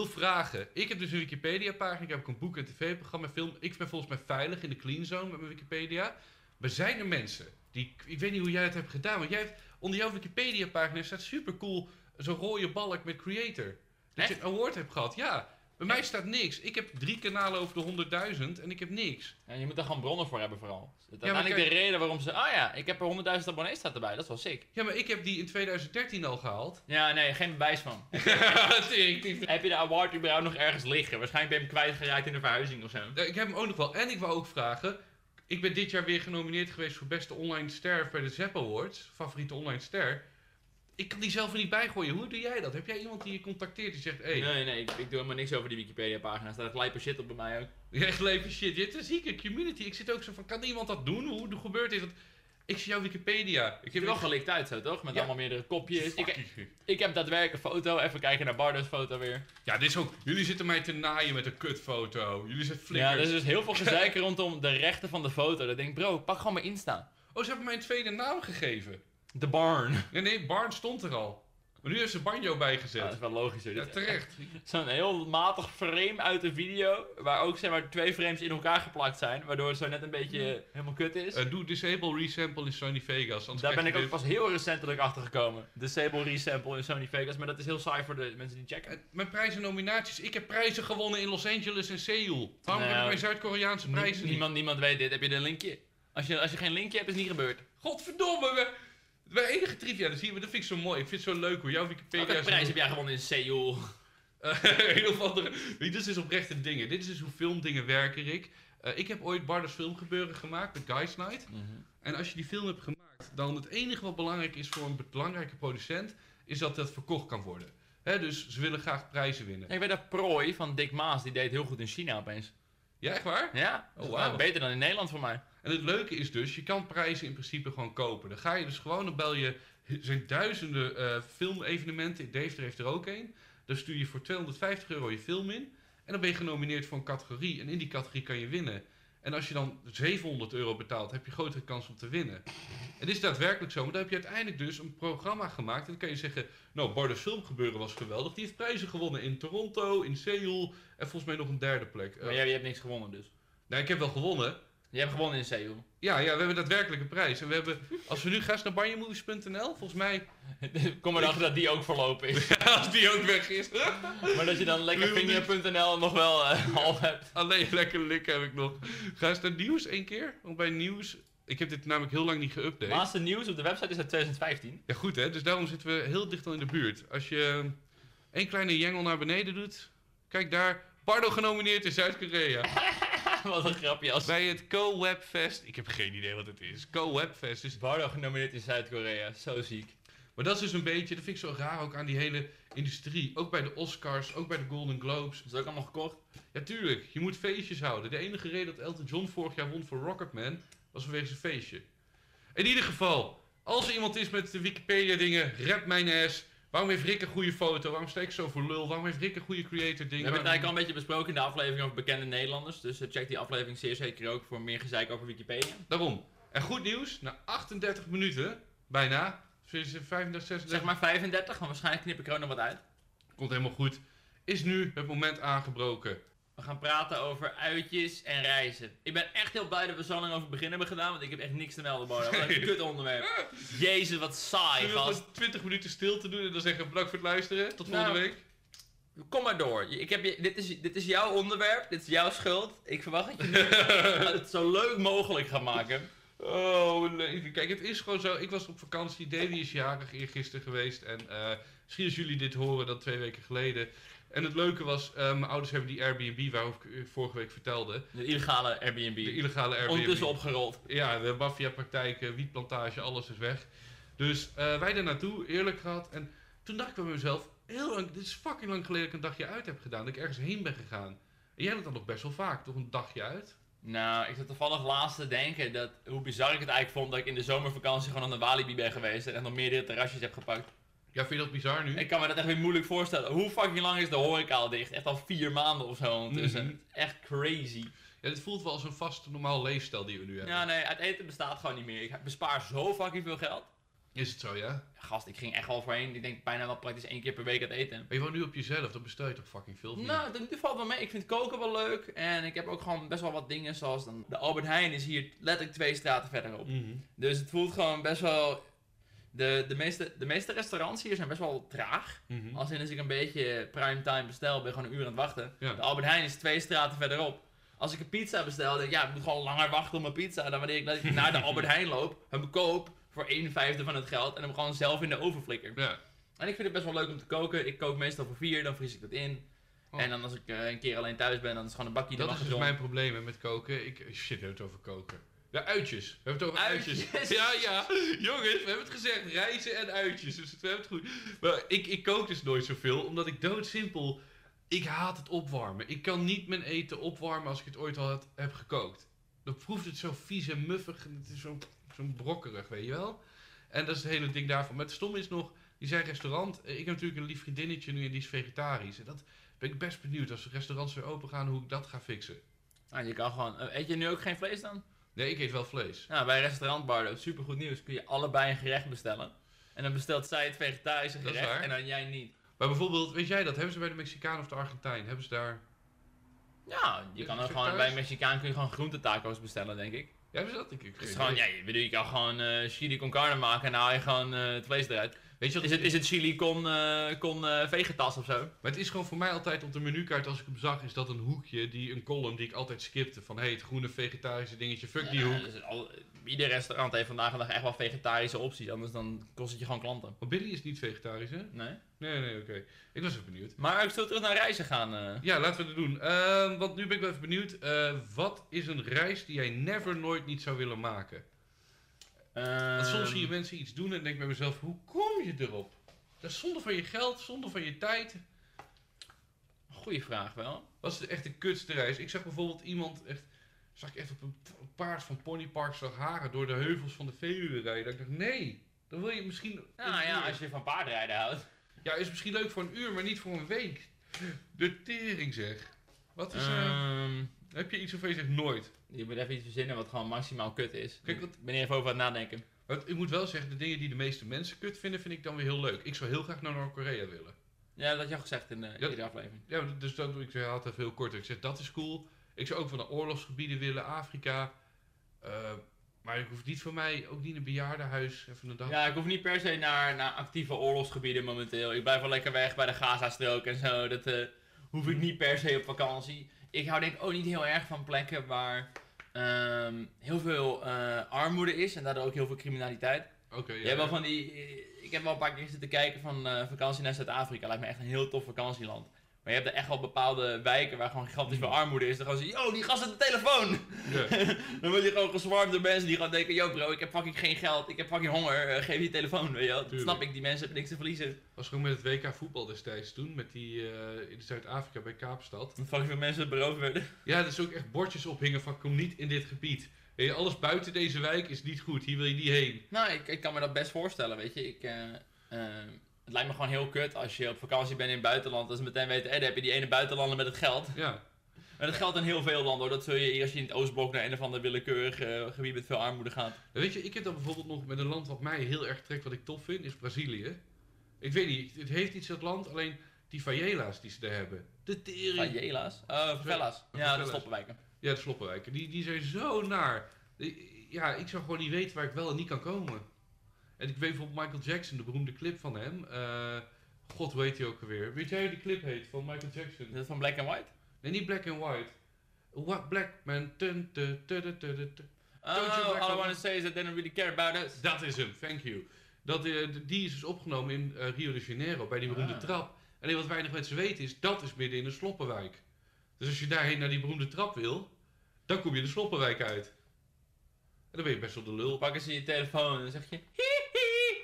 Speaker 1: wil vragen. Ik heb dus een Wikipedia-pagina. Ik heb ook een boek, een tv-programma, een film. Ik ben volgens mij veilig in de clean zone met mijn Wikipedia. Maar zijn er mensen die... Ik weet niet hoe jij het hebt gedaan, want jij hebt... Onder jouw Wikipedia-pagina staat supercool zo'n rode balk met creator. Dat je
Speaker 2: Echt?
Speaker 1: een award hebt gehad, ja. Bij mij staat niks. Ik heb drie kanalen over de 100.000 en ik heb niks.
Speaker 2: En je moet daar gewoon bronnen voor hebben vooral.
Speaker 1: maar
Speaker 2: Dat uiteindelijk
Speaker 1: kijk-
Speaker 2: de reden waarom ze... Oh ja, ik heb er 100.000 abonnees staat erbij, dat is wel sick.
Speaker 1: Ja, maar ik heb die in 2013 al gehaald. (laughs)
Speaker 2: Ja, nee, geen bewijs van.
Speaker 1: Tering, die
Speaker 2: heb je de award überhaupt nog ergens liggen? Waarschijnlijk ben je hem kwijtgeraakt in de verhuizing of zo.
Speaker 1: Ja, Eh, ik heb hem ook nog wel. En ik wou ook vragen. Ik ben dit jaar weer genomineerd geweest voor beste online ster bij de Zepp Awards. Favoriete online ster. Ik kan die zelf er niet bijgooien. Hoe doe jij dat? Heb jij iemand die je contacteert die zegt... Hé, hey,
Speaker 2: Nee, nee, ik, ik doe helemaal niks over die Wikipedia-pagina. Er staat glijper shit op bij mij ook.
Speaker 1: echt leven shit. Dit is een zieke community. Ik zit ook zo van, kan iemand dat doen? Hoe hoe gebeurt dit? Want ik zie jouw Wikipedia. Ik
Speaker 2: Ik heb wel gelikt uit zo, toch? Met
Speaker 1: Ja.
Speaker 2: allemaal meerdere kopjes. Ik,
Speaker 1: Fuck.
Speaker 2: ik heb daadwerkelijk een foto. Even kijken naar Bardo's foto weer.
Speaker 1: Ja, dit is ook... Jullie zitten mij te naaien met een kutfoto. Jullie zijn flikkers.
Speaker 2: Ja, er is dus heel veel gezeik (laughs) rondom de rechten van de foto. Dan denk ik, bro, pak gewoon mijn Insta.
Speaker 1: Oh, ze hebben mij een tweede naam gegeven.
Speaker 2: De barn.
Speaker 1: Nee, nee, Barn stond er al. Maar nu heeft ze Banjo bijgezet.
Speaker 2: dat is wel logischer.
Speaker 1: ja
Speaker 2: Dit is
Speaker 1: terecht.
Speaker 2: Zo'n heel matig frame uit de video, waar ook zeg maar twee frames in elkaar geplakt zijn, waardoor het zo net een beetje eh, helemaal kut is.
Speaker 1: Eh, doe disable resample in Sony Vegas. Anders
Speaker 2: Daar
Speaker 1: krijg
Speaker 2: ben ik
Speaker 1: je
Speaker 2: ook
Speaker 1: dit.
Speaker 2: pas heel recentelijk achter gekomen. Disable resample in Sony Vegas, maar dat is heel saai voor de mensen die checken.
Speaker 1: Eh, Mijn prijzen en nominaties. Ik heb prijzen gewonnen in Los Angeles en Seoul. Waarom
Speaker 2: Nou,
Speaker 1: heb ik mijn Zuid-Koreaanse
Speaker 2: Nie-
Speaker 1: prijzen niet?
Speaker 2: niemand, niemand weet dit. Heb je een linkje? Als je, als je geen linkje hebt, is het niet gebeurd.
Speaker 1: Godverdomme. We, mijn enige trivia, dat, zie je, dat vind ik zo mooi. Ik vind het zo leuk hoe jouw Wikipedia...
Speaker 2: Welke
Speaker 1: zo-
Speaker 2: prijs heb jij gewonnen in Seoul?
Speaker 1: Eh, (laughs) heel veel andere... Weet je, dit is oprechte dingen. Dit is dus hoe filmdingen werken, Rick. Eh, ik heb ooit Bardas Filmgebeuren gemaakt, met Guys Night.
Speaker 2: Mhm.
Speaker 1: En als je die film hebt gemaakt, dan het enige wat belangrijk is voor een belangrijke producent, is dat dat verkocht kan worden. Hè, dus ze willen graag prijzen winnen.
Speaker 2: Ik weet dat Prooi van Dick Maas, die deed heel goed in China opeens.
Speaker 1: Ja, echt waar?
Speaker 2: Ja,
Speaker 1: Oh,
Speaker 2: dat is
Speaker 1: wauw.
Speaker 2: wel beter dan in Nederland voor mij.
Speaker 1: En het leuke is dus, je kan prijzen in principe gewoon kopen. Dan ga je dus gewoon, dan bel je, er zijn duizenden eh filmevenementen, Dave er heeft er ook een. Dan stuur je voor 250 euro je film in. En dan ben je genomineerd voor een categorie. En in die categorie kan je winnen. En als je dan 700 euro betaalt, heb je grotere kans om te winnen. En dit is daadwerkelijk zo, maar dan heb je uiteindelijk dus een programma gemaakt. En dan kan je zeggen, nou, Bardo's filmgebeuren was geweldig. Die heeft prijzen gewonnen in Toronto, in Seoul en volgens mij nog een derde plek. Eh,
Speaker 2: Maar jij, jij hebt niks gewonnen dus.
Speaker 1: Nou, ik heb wel gewonnen,
Speaker 2: Je hebt gewonnen in Seoul.
Speaker 1: ja, ja, we hebben daadwerkelijk een prijs. En we hebben, als we nu gaan naar banjemovies.nl, volgens mij...
Speaker 2: (laughs)
Speaker 1: (laughs)
Speaker 2: Kom erachter dat die ook verlopen is.
Speaker 1: als die ook weg is.
Speaker 2: (laughs)
Speaker 1: (laughs)
Speaker 2: maar dat je dan lekker vinger.nl nog wel eh, (laughs) half hebt.
Speaker 1: Alleen lekker likken heb ik nog. Ga eens naar nieuws één keer. Want bij nieuws... Ik heb dit namelijk heel lang niet
Speaker 2: Het
Speaker 1: geüpdate.
Speaker 2: laatste nieuws op de website is uit 2015.
Speaker 1: Ja, goed hè. Dus daarom zitten we heel dicht al in de buurt. Als je eh, één kleine jengel naar beneden doet... Kijk daar. Pardo genomineerd in Zuid-Korea.
Speaker 2: (laughs) Wat een grapje als
Speaker 1: bij het Co-Web Fest. Ik heb geen idee wat het is. Co-Web Fest is...
Speaker 2: Bardo genomineerd in Zuid-Korea. Zo ziek.
Speaker 1: Dus- Maar dat is dus een beetje, dat vind ik zo raar ook aan die hele industrie. Ook bij de Oscars, ook bij de Golden Globes.
Speaker 2: Is dat ook allemaal gekocht?
Speaker 1: Ja, tuurlijk, je moet feestjes houden. De enige reden dat Elton John vorig jaar won voor Rocketman was vanwege zijn feestje. In ieder geval, als er iemand is met de Wikipedia-dingen, rap mijn ass. Waarom heeft Rick een goede foto? Waarom sta ik zo voor lul? Waarom heeft Rick een goede
Speaker 2: We
Speaker 1: creator-ding?
Speaker 2: hebben het
Speaker 1: Waarom-
Speaker 2: eigenlijk al een beetje besproken in de aflevering over bekende Nederlanders. Dus eh, check die aflevering zeer zeker ook voor meer gezeik over Wikipedia.
Speaker 1: Daarom. En goed nieuws, na 38 minuten, bijna, sinds 35, 36,
Speaker 2: Zeg maar 35, want waarschijnlijk knip ik er ook nog wat uit.
Speaker 1: komt helemaal goed, is nu het moment aangebroken.
Speaker 2: We gaan praten over uitjes en reizen. Ik ben echt heel blij dat we zo lang over het begin hebben gedaan, want ik heb echt niks te melden, Bardo. Wat (laughs) een kut onderwerp. Jezus, wat saai,
Speaker 1: Je wil
Speaker 2: gast.
Speaker 1: gewoon 20 minuten stil te doen en dan zeggen bedankt voor het luisteren, tot
Speaker 2: Nou,
Speaker 1: volgende week.
Speaker 2: Kom maar door. Je- Ik heb je, dit, is, dit is jouw onderwerp, dit is jouw schuld. Ik verwacht dat je (laughs) nu het zo leuk mogelijk gaat maken.
Speaker 1: Oh, mijn leven. Kijk, het is gewoon zo. Ik was op vakantie. Davy is jarig eergisteren geweest. En eh, misschien als jullie dit horen, dan twee weken geleden. En het leuke was, eh, mijn ouders hebben die Airbnb waarover ik eh, vorige week vertelde.
Speaker 2: De illegale Airbnb.
Speaker 1: De illegale Airbnb.
Speaker 2: Ondertussen opgerold.
Speaker 1: Ja, de maffiapraktijken, wietplantage, alles is weg. Dus eh, wij daar naartoe, eerlijk gehad. En toen dacht ik bij mezelf, heel lang, dit is fucking lang geleden dat ik een dagje uit heb gedaan. Dat ik ergens heen ben gegaan. En jij hebt dat nog best wel vaak, toch? Een dagje uit?
Speaker 2: Nou, ik zat toevallig laatst te denken dat, hoe bizar ik het eigenlijk vond dat ik in de zomervakantie gewoon aan de Walibi ben geweest en echt nog meerdere terrasjes heb gepakt.
Speaker 1: Ja, vind je dat bizar nu?
Speaker 2: Ik kan me dat echt weer moeilijk voorstellen. Hoe fucking lang is de horeca al dicht? Echt al vier maanden of zo ondertussen.
Speaker 1: Mhm.
Speaker 2: Echt crazy.
Speaker 1: Ja, dit voelt wel als een vaste, normaal leefstijl die we nu
Speaker 2: Ja.
Speaker 1: hebben.
Speaker 2: nee, uit eten bestaat gewoon niet meer. Ik bespaar zo fucking veel geld.
Speaker 1: Is het zo, ja?
Speaker 2: Gast, ik ging echt wel voorheen. Ik denk bijna wel praktisch één keer per week uit eten.
Speaker 1: Maar je woont nu op jezelf, dan bestel je toch fucking veel? of niet?
Speaker 2: Nou, dat valt wel mee. Ik vind koken wel leuk. En ik heb ook gewoon best wel wat dingen zoals dan... De Albert Heijn is hier letterlijk twee straten verderop.
Speaker 1: Mhm.
Speaker 2: Dus het voelt gewoon best wel... De, de, meeste, de meeste restaurants hier zijn best wel traag.
Speaker 1: Mhm.
Speaker 2: Als in als ik een beetje primetime bestel, ben ik gewoon een uur aan het wachten.
Speaker 1: Ja.
Speaker 2: De Albert Heijn is twee straten verderop. Als ik een pizza bestel, denk ik, ja, ik moet gewoon langer wachten op mijn pizza. Dan wanneer ik
Speaker 1: (laughs)
Speaker 2: dat ik naar de Albert Heijn loop, hem koop voor 1 vijfde van het geld en hem gewoon zelf in de oven flikker.
Speaker 1: Ja.
Speaker 2: En ik vind het best wel leuk om te koken. Ik kook meestal voor vier, dan vries ik dat in.
Speaker 1: Oh.
Speaker 2: En dan als ik eh, een keer alleen thuis ben, dan is het gewoon een bakje
Speaker 1: Dat
Speaker 2: de
Speaker 1: is dus mijn probleem hè, met koken. Ik, shit, we hebben het over koken. Ja, uitjes. We hebben het over uitjes. (laughs)
Speaker 2: Uitjes.
Speaker 1: Ja, ja. Jongens, we hebben het gezegd. Reizen en uitjes. Dus we hebben het goed. Maar ik, ik kook dus nooit zoveel, omdat ik doodsimpel... Ik haat het opwarmen. Ik kan niet mijn eten opwarmen als ik het ooit al had- heb gekookt. Dan proeft het zo vies en muffig. En het is zo, zo brokkerig, weet je wel? En dat is het hele ding daarvan. Maar het stom is nog, die zijn restaurant. eh, Ik heb natuurlijk een lief vriendinnetje nu en die is vegetarisch. En dat ben ik best benieuwd als de restaurants weer open gaan, hoe ik dat ga fixen.
Speaker 2: Ah, je kan gewoon... eh, eet je nu ook geen vlees dan?
Speaker 1: Nee, ik eet wel vlees.
Speaker 2: Nou, bij restaurant Bardo, supergoed nieuws, kun je allebei een gerecht bestellen. En dan bestelt zij het vegetarische
Speaker 1: Dat is
Speaker 2: gerecht
Speaker 1: waar.
Speaker 2: en dan jij niet.
Speaker 1: Maar bijvoorbeeld, weet jij dat? Hebben ze bij de Mexicaan of de Argentijn? Hebben ze daar.
Speaker 2: Ja, je kan ook gewoon bij
Speaker 1: Vegetarisch?
Speaker 2: Mexicaan kun je gewoon groentetaco's bestellen, denk ik.
Speaker 1: Ja, hebben ze dat? Ik, ik
Speaker 2: Dus
Speaker 1: geen
Speaker 2: gewoon,
Speaker 1: idee.
Speaker 2: ja, je, bedoel, je kan gewoon eh, chili con carne maken en dan haal je gewoon eh, het vlees eruit.
Speaker 1: Weet je wat?
Speaker 2: Is het, is het chili con, eh, con eh, vegetas of zo?
Speaker 1: Maar het is gewoon voor mij altijd op de menukaart, als ik hem zag, is dat een hoekje, die, een column die ik altijd skipte. Van hé, hey, het groene vegetarische dingetje, fuck die
Speaker 2: Ja,
Speaker 1: hoek.
Speaker 2: dus al- ieder restaurant heeft vandaag de dag echt wel vegetarische opties, anders dan kost het je gewoon klanten.
Speaker 1: Maar Billy is niet vegetarisch, hè?
Speaker 2: Nee?
Speaker 1: Nee, nee, oké. Ik was even benieuwd.
Speaker 2: Maar ik zou terug naar reizen gaan. eh.
Speaker 1: Ja, laten we het doen. Ehm, want nu ben ik wel even benieuwd. eh, wat is een reis die jij never nooit niet zou willen maken? Want soms zie je
Speaker 2: Ehm,
Speaker 1: mensen iets doen en denk ik bij mezelf, hoe kom je erop? Dat is zonde van je geld, zonde van je tijd.
Speaker 2: Goeie vraag wel.
Speaker 1: Wat is echt de kutste reis? Ik zag bijvoorbeeld iemand echt, zag ik echt op een p- paard van Pony Park zag haren door de heuvels van de Veluwe rijden. Dat ik dacht, nee, dan wil je misschien...
Speaker 2: Nou
Speaker 1: een
Speaker 2: ja,
Speaker 1: uur.
Speaker 2: als je van paardrijden houdt.
Speaker 1: Ja, is misschien leuk voor een uur, maar niet voor een week. De tering zeg. Wat is... eh,
Speaker 2: Ehm,
Speaker 1: heb je iets waarvan je zegt nooit?
Speaker 2: je moet even iets verzinnen wat gewoon maximaal kut is.
Speaker 1: Kijk, wat-
Speaker 2: Ik ben hier even over aan het nadenken.
Speaker 1: Want ik moet wel zeggen, de dingen die de meeste mensen kut vinden, vind ik dan weer heel leuk. Ik zou heel graag naar Noord-Korea willen.
Speaker 2: Ja, dat had je al gezegd in de
Speaker 1: Ja.
Speaker 2: eerdere aflevering.
Speaker 1: Ja, dus dat, ik zei altijd heel kort. Ik zeg, dat is cool. Ik zou ook van de oorlogsgebieden willen, Afrika. Eh, maar ik hoef niet voor mij, ook niet een bejaardenhuis, even een dag.
Speaker 2: Ja, ik hoef niet per se naar, naar actieve oorlogsgebieden momenteel. Ik blijf wel lekker weg bij de Gaza-strook en zo. Dat eh, hoef
Speaker 1: Mhm.
Speaker 2: ik niet per se op vakantie. Ik hou denk ik ook niet heel erg van plekken waar ehm, heel veel eh, armoede is en daardoor ook heel veel criminaliteit.
Speaker 1: Oké, ja,
Speaker 2: Je hebt wel
Speaker 1: ja.
Speaker 2: van eh, die, ik heb wel een paar keer zitten kijken van eh, vakantie naar Zuid-Afrika. Lijkt me echt een heel tof vakantieland. Maar je hebt er echt wel bepaalde wijken waar gewoon gigantisch veel armoede is. Dan gaan ze, yo, die gast aan de telefoon!
Speaker 1: Ja.
Speaker 2: dan word je gewoon geswarmd door mensen die gewoon denken, yo bro, ik heb fucking geen geld, ik heb fucking honger, eh, geef je telefoon, weet je wel. Dat
Speaker 1: Tuurlijk.
Speaker 2: snap ik, die mensen hebben niks te verliezen.
Speaker 1: Was gewoon met het WK voetbal destijds toen, met die eh, in Zuid-Afrika bij Kaapstad.
Speaker 2: Dat fucking veel mensen beroofd werden. (laughs)
Speaker 1: Ja, dat is ook echt bordjes ophingen van kom niet in dit gebied. Weet je, alles buiten deze wijk is niet goed, hier wil je niet heen.
Speaker 2: Nou, ik, ik kan me dat best voorstellen, weet je. Ik, eh, eh, het lijkt me gewoon heel kut als je op vakantie bent in het buitenland, dat ze meteen weten, eh, daar heb je die ene buitenlander met het geld.
Speaker 1: Ja,
Speaker 2: Maar dat geldt in heel veel landen hoor, dat zul je hier als je in het Oostblok naar een of ander willekeurig eh, gebied met veel armoede gaat.
Speaker 1: En weet je, ik heb dan bijvoorbeeld nog met een land wat mij heel erg trekt, wat ik tof vind, is Brazilië. Ik weet niet, het heeft iets dat land, alleen die favela's die ze daar hebben. De tering.
Speaker 2: Jela's? Eh favelas. Ja,
Speaker 1: favelas.
Speaker 2: dat stoppen wijken.
Speaker 1: Ja, de sloppenwijken. Die, die zijn zo naar. Die- Ja, ik zou gewoon niet weten waar ik wel en niet kan komen. En ik weet bijvoorbeeld Michael Jackson, de beroemde clip van hem. eh, God, hoe heet hij ook alweer? Weet jij hoe die clip heet van Michael Jackson?
Speaker 2: Is dat van Black and White?
Speaker 1: Nee, niet Black and White. What Black Man. Dun, dun, dun, dun, dun, dun, dun. Don't you
Speaker 2: Oh,
Speaker 1: black
Speaker 2: all I
Speaker 1: and-
Speaker 2: want to say is that they don't really care about us.
Speaker 1: Dat is hem, thank you. Dat, eh, d- die is dus opgenomen in eh, Rio de Janeiro, bij die beroemde
Speaker 2: Ah.
Speaker 1: trap. Alleen wat weinig mensen weten is, dat is midden in de sloppenwijk. Dus als je daarheen naar die beroemde trap wil, dan kom je de sloppenwijk uit. En dan ben je best wel de lul.
Speaker 2: Dan pakken ze je telefoon en dan zeg je... Hihi,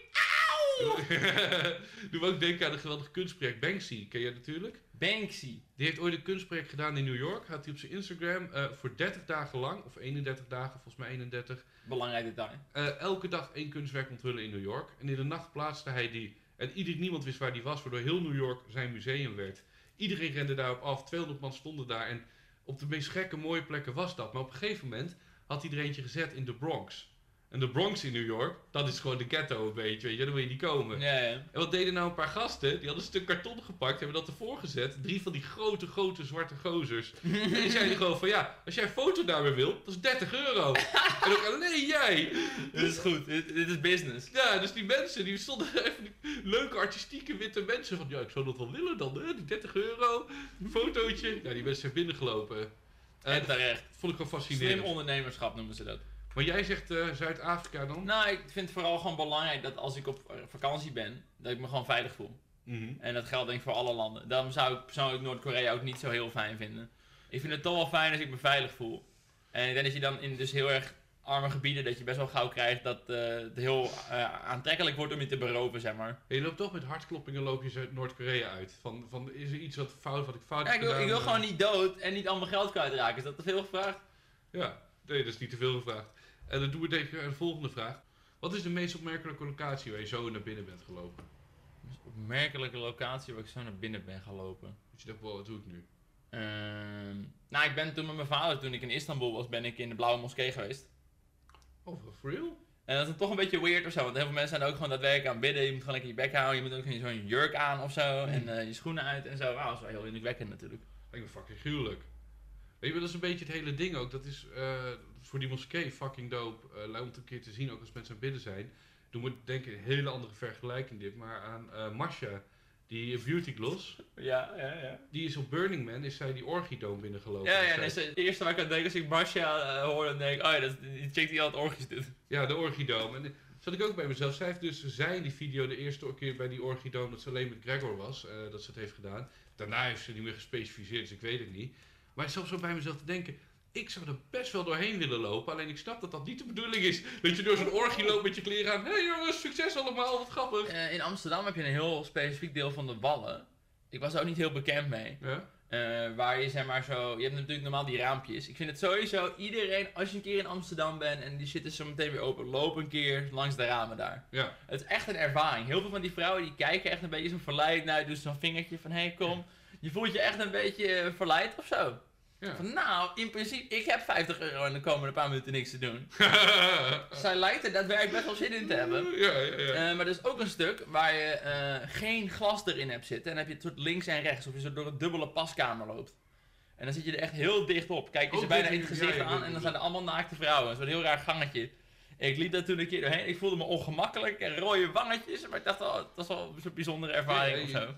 Speaker 2: auw!
Speaker 1: (laughs) Doe me ook denken aan een geweldig kunstproject. Banksy, ken jij natuurlijk?
Speaker 2: Banksy.
Speaker 1: Die heeft ooit een kunstproject gedaan in New York. Had hij op zijn Instagram eh, voor 30 dagen lang, of 31 dagen, volgens mij 31,
Speaker 2: Belangrijk detail.
Speaker 1: eh, elke dag één kunstwerk onthullen in New York. En in de nacht plaatste hij die. En ieder, niemand wist waar die was, waardoor heel New York zijn museum werd. Iedereen rende daarop af, 200 man stonden daar. En op de meest gekke, mooie plekken was dat. Maar op een gegeven moment had hij er eentje gezet in de Bronx. En de Bronx in New York, dat is gewoon de ghetto een beetje, weet je. Daar wil je niet komen.
Speaker 2: Ja, ja.
Speaker 1: En wat deden nou een paar gasten? Die hadden een stuk karton gepakt, hebben dat ervoor gezet. Drie van die grote, grote zwarte gozers. En die zeiden gewoon van ja, als jij een foto daarmee wilt, dat is 30 euro. en ook alleen jij.
Speaker 2: Dit is goed. Dit, dit is business.
Speaker 1: Ja, dus die mensen, die stonden (laughs) even die leuke artistieke witte mensen van ja, ik zou dat wel willen dan, hè? die 30 euro, een fotootje. Ja, die mensen zijn binnengelopen. Eh,
Speaker 2: En
Speaker 1: dat
Speaker 2: terecht.
Speaker 1: vond ik gewoon
Speaker 2: Slim
Speaker 1: fascinerend.
Speaker 2: ondernemerschap noemen ze dat.
Speaker 1: Maar jij zegt eh, Zuid-Afrika dan?
Speaker 2: Nou, ik vind het vooral gewoon belangrijk dat als ik op eh, vakantie ben, dat ik me gewoon veilig voel.
Speaker 1: Mhm.
Speaker 2: En dat geldt denk ik voor alle landen. Daarom zou ik persoonlijk Noord-Korea ook niet zo heel fijn vinden. Ik vind het toch wel fijn als ik me veilig voel. En ik denk dat je dan in dus heel erg arme gebieden, dat je best wel gauw krijgt dat eh, het heel eh, aantrekkelijk wordt om je te beroven, zeg maar.
Speaker 1: Je loopt toch met hartkloppingen loop je uit Noord-Korea uit. Van, van, is er iets wat fout, wat ik fout
Speaker 2: Ja,
Speaker 1: heb
Speaker 2: ik, wil,
Speaker 1: gedaan?
Speaker 2: ik wil
Speaker 1: Eh,
Speaker 2: gewoon niet dood en niet al mijn geld kwijtraken. Is dat te veel gevraagd?
Speaker 1: Ja, nee, dat is niet te veel gevraagd. En dan doen we denk ik aan de volgende vraag. Wat is de meest opmerkelijke locatie waar je zo naar binnen bent gelopen?
Speaker 2: Dus opmerkelijke locatie waar ik zo naar binnen ben gelopen.
Speaker 1: Dat je denkt, wow, wat doe ik nu?
Speaker 2: Ehm, nou, ik ben toen met mijn vader, toen ik in Istanbul was, ben ik in de Blauwe Moskee geweest.
Speaker 1: Oh, for real?
Speaker 2: En dat is dan toch een beetje weird of zo, want heel veel mensen zijn ook gewoon daadwerkelijk aan het bidden. Je moet gewoon lekker je bek houden, je moet ook gewoon zo'n jurk aan of zo. En eh, je schoenen uit en zo. Wauw, dat is wel heel indrukwekkend natuurlijk.
Speaker 1: Lijkt me fucking gruwelijk. Weet je, dat is een beetje het hele ding ook. Dat is eh, voor die moskee fucking dope. Eh, leuk om het een keer te zien, ook als mensen aan het bidden zijn. Toen moet ik denken, een hele andere vergelijking dit. Maar aan eh Masha, die eh, beauty gloss.
Speaker 2: Ja, ja, ja.
Speaker 1: Die is op Burning Man, is zij die orgidoom binnengelopen.
Speaker 2: Ja, ja,
Speaker 1: Zij-
Speaker 2: dat is het eerste waar ik aan denk als ik Marcia eh, hoor, dan denk ik, oh ja, dat, is- die chick die altijd orgies doet.
Speaker 1: Ja, de orgidoom. En eh, zat ik ook bij mezelf. Zij heeft dus, zij in die video de eerste keer bij die orgidoom dat ze alleen met Gregor was, eh, dat ze het heeft gedaan. Daarna heeft ze niet meer gespecificeerd, dus ik weet het niet. Maar ik zat zo bij mezelf te denken, ik zou er best wel doorheen willen lopen, alleen ik snap dat dat niet de bedoeling is. Dat je door zo'n orgie loopt met je kleren aan. Hé hey jongens, succes allemaal, wat grappig.
Speaker 2: Eh, in Amsterdam heb je een heel specifiek deel van de wallen. Ik was er ook niet heel bekend mee.
Speaker 1: Ja,
Speaker 2: Eh, waar je zeg maar zo. Je hebt natuurlijk normaal die raampjes. Ik vind het sowieso iedereen, als je een keer in Amsterdam bent en die shit is zo meteen weer open, loop een keer langs de ramen daar.
Speaker 1: ja.
Speaker 2: Het is echt een ervaring. Heel veel van die vrouwen die kijken echt een beetje zo verleid naar, dus zo'n vingertje van hé hey, kom. Je voelt je echt een beetje eh, verleid of zo.
Speaker 1: ja.
Speaker 2: Van, nou, in principe, ik heb 50 euro en dan komen er een paar minuten niks te doen. Zij lijkt er daadwerkelijk best wel zin in te hebben.
Speaker 1: Ja, ja, ja.
Speaker 2: Eh, maar er is ook een stuk waar je eh, geen glas erin hebt zitten. En dan heb je het soort links en rechts. Of je zo door een dubbele paskamer loopt. En dan zit je er echt heel dicht op. Kijk je
Speaker 1: Oh,
Speaker 2: ze bijna
Speaker 1: dit-
Speaker 2: in het
Speaker 1: ja,
Speaker 2: gezicht
Speaker 1: ja, dit-
Speaker 2: aan. En dan zijn er allemaal naakte vrouwen. Zo'n heel raar gangetje. Ik liep daar toen een keer doorheen. Ik voelde me ongemakkelijk. En rode wangetjes. Maar ik dacht, oh, dat is wel zo'n bijzondere ervaring
Speaker 1: Ja,
Speaker 2: of
Speaker 1: ja,
Speaker 2: zo.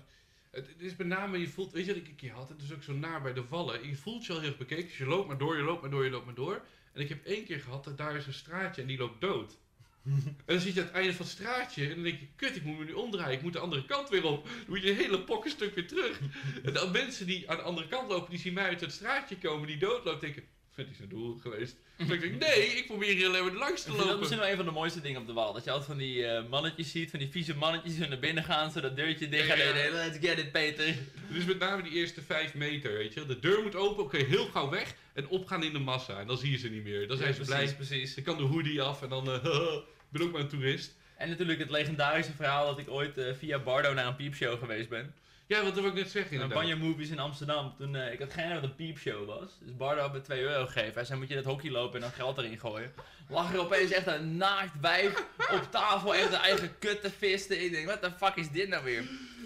Speaker 1: Het, het is met name, je voelt, weet je wat ik een keer had? Het is ook zo naar bij de vallen. Je voelt je al heel erg bekeken, dus je loopt maar door, je loopt maar door, je loopt maar door. En ik heb één keer gehad dat daar is een straatje en die loopt dood. En dan zit je aan het einde van het straatje en dan denk je, kut, ik moet me nu omdraaien, ik moet de andere kant weer op. Dan moet je een hele pokkenstuk weer terug. En dan mensen die aan de andere kant lopen, die zien mij uit het straatje komen, die doodloopt, denken, vind ik zijn doel geweest. Dus ik denk, nee, ik probeer hier alleen maar langs te
Speaker 2: Ik vind dat
Speaker 1: lopen.
Speaker 2: misschien wel een van de mooiste dingen op de wal. Dat je altijd van die eh, mannetjes ziet, van die vieze mannetjes die naar binnen gaan, zo dat deurtje dicht gaat.
Speaker 1: Ja.
Speaker 2: en, eh, Let's get it, Peter.
Speaker 1: Dus met name die eerste vijf meter, weet je. wel. De deur moet open, oké, heel gauw weg en opgaan in de massa. En dan zie je ze niet meer. Dan zijn
Speaker 2: Ja,
Speaker 1: ze
Speaker 2: precies,
Speaker 1: blij.
Speaker 2: precies.
Speaker 1: Ze kan de hoodie af en dan, eh, (laughs) ik ben ook maar een toerist.
Speaker 2: En natuurlijk het legendarische verhaal dat ik ooit eh, via Bardo naar een piepshow geweest ben.
Speaker 1: Ja, wat wil ik net zeggen
Speaker 2: Een
Speaker 1: inderdaad.
Speaker 2: Banjo Movies in Amsterdam. Toen, eh, ik had geen idee wat een piepshow was. Dus Bardo had me 2 euro gegeven. Hij zei, moet je dat hockey lopen en dan geld erin gooien. Lag er opeens echt een naakt wijf op tafel. Echt een eigen kut te visten. Ik denk, what the fuck is dit nou weer?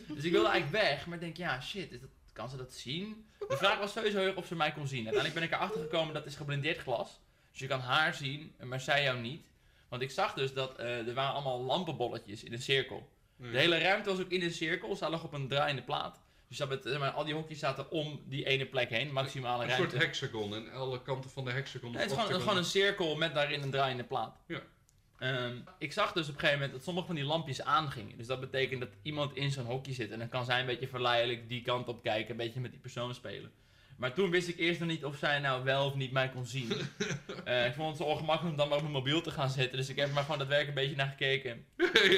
Speaker 2: Dus ik wilde eigenlijk weg. Maar ik denk, ja shit, is dat, kan ze dat zien? De vraag was sowieso heel erg of ze mij kon zien. Uiteindelijk ben ik erachter gekomen dat het is geblindeerd glas. Dus je kan haar zien, maar zij jou niet. Want ik zag dus dat eh, er waren allemaal lampenbolletjes in een cirkel.
Speaker 1: Nee.
Speaker 2: De hele ruimte was ook in een cirkel. Zij lag op een draaiende plaat. Dus dat met, zeg maar, al die hokjes zaten om die ene plek heen. Maximale
Speaker 1: Een
Speaker 2: ruimte.
Speaker 1: soort hexagon en alle kanten van de hexagon.
Speaker 2: Nee, het is gewoon,
Speaker 1: octagon.
Speaker 2: gewoon een cirkel met daarin een draaiende plaat.
Speaker 1: Ja.
Speaker 2: Ehm, ik zag dus op een gegeven moment dat sommige van die lampjes aangingen. Dus dat betekent dat iemand in zo'n hokje zit. En dan kan zij een beetje verleidelijk die kant op kijken. Een beetje met die persoon spelen. Maar toen wist ik eerst nog niet of zij nou wel of niet mij kon zien. Eh, ik vond het zo ongemakkelijk om dan maar op mijn mobiel te gaan zitten. Dus ik heb er maar gewoon dat werk een beetje naar gekeken.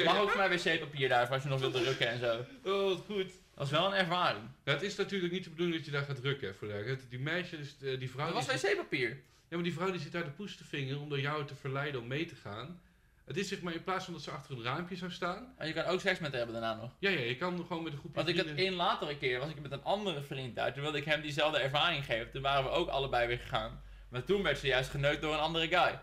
Speaker 2: Mag ook voor mij wc-papier daar, voor als je nog wilt drukken en zo.
Speaker 1: Oh, wat goed.
Speaker 2: Dat was wel een ervaring.
Speaker 1: Ja, het is natuurlijk niet de bedoeling dat je daar gaat drukken, hè, voor de duidelijkheid. Die meisje, dus, eh, die vrouw...
Speaker 2: Dat was
Speaker 1: die zit-
Speaker 2: wc-papier.
Speaker 1: ja, maar die vrouw die zit daar de poes te vingeren om door jou te verleiden om mee te gaan. Het is zeg maar, in plaats van dat ze achter een raampje zou staan...
Speaker 2: En je kan ook seks met haar hebben daarna nog.
Speaker 1: Ja, ja, je kan gewoon met een groepje
Speaker 2: Want ik had
Speaker 1: vrienden-
Speaker 2: één latere keer, was ik met een andere vriend daar. Toen wilde ik hem diezelfde ervaring geven. Toen waren we ook allebei weer gegaan. Maar toen werd ze juist geneukt door een andere guy.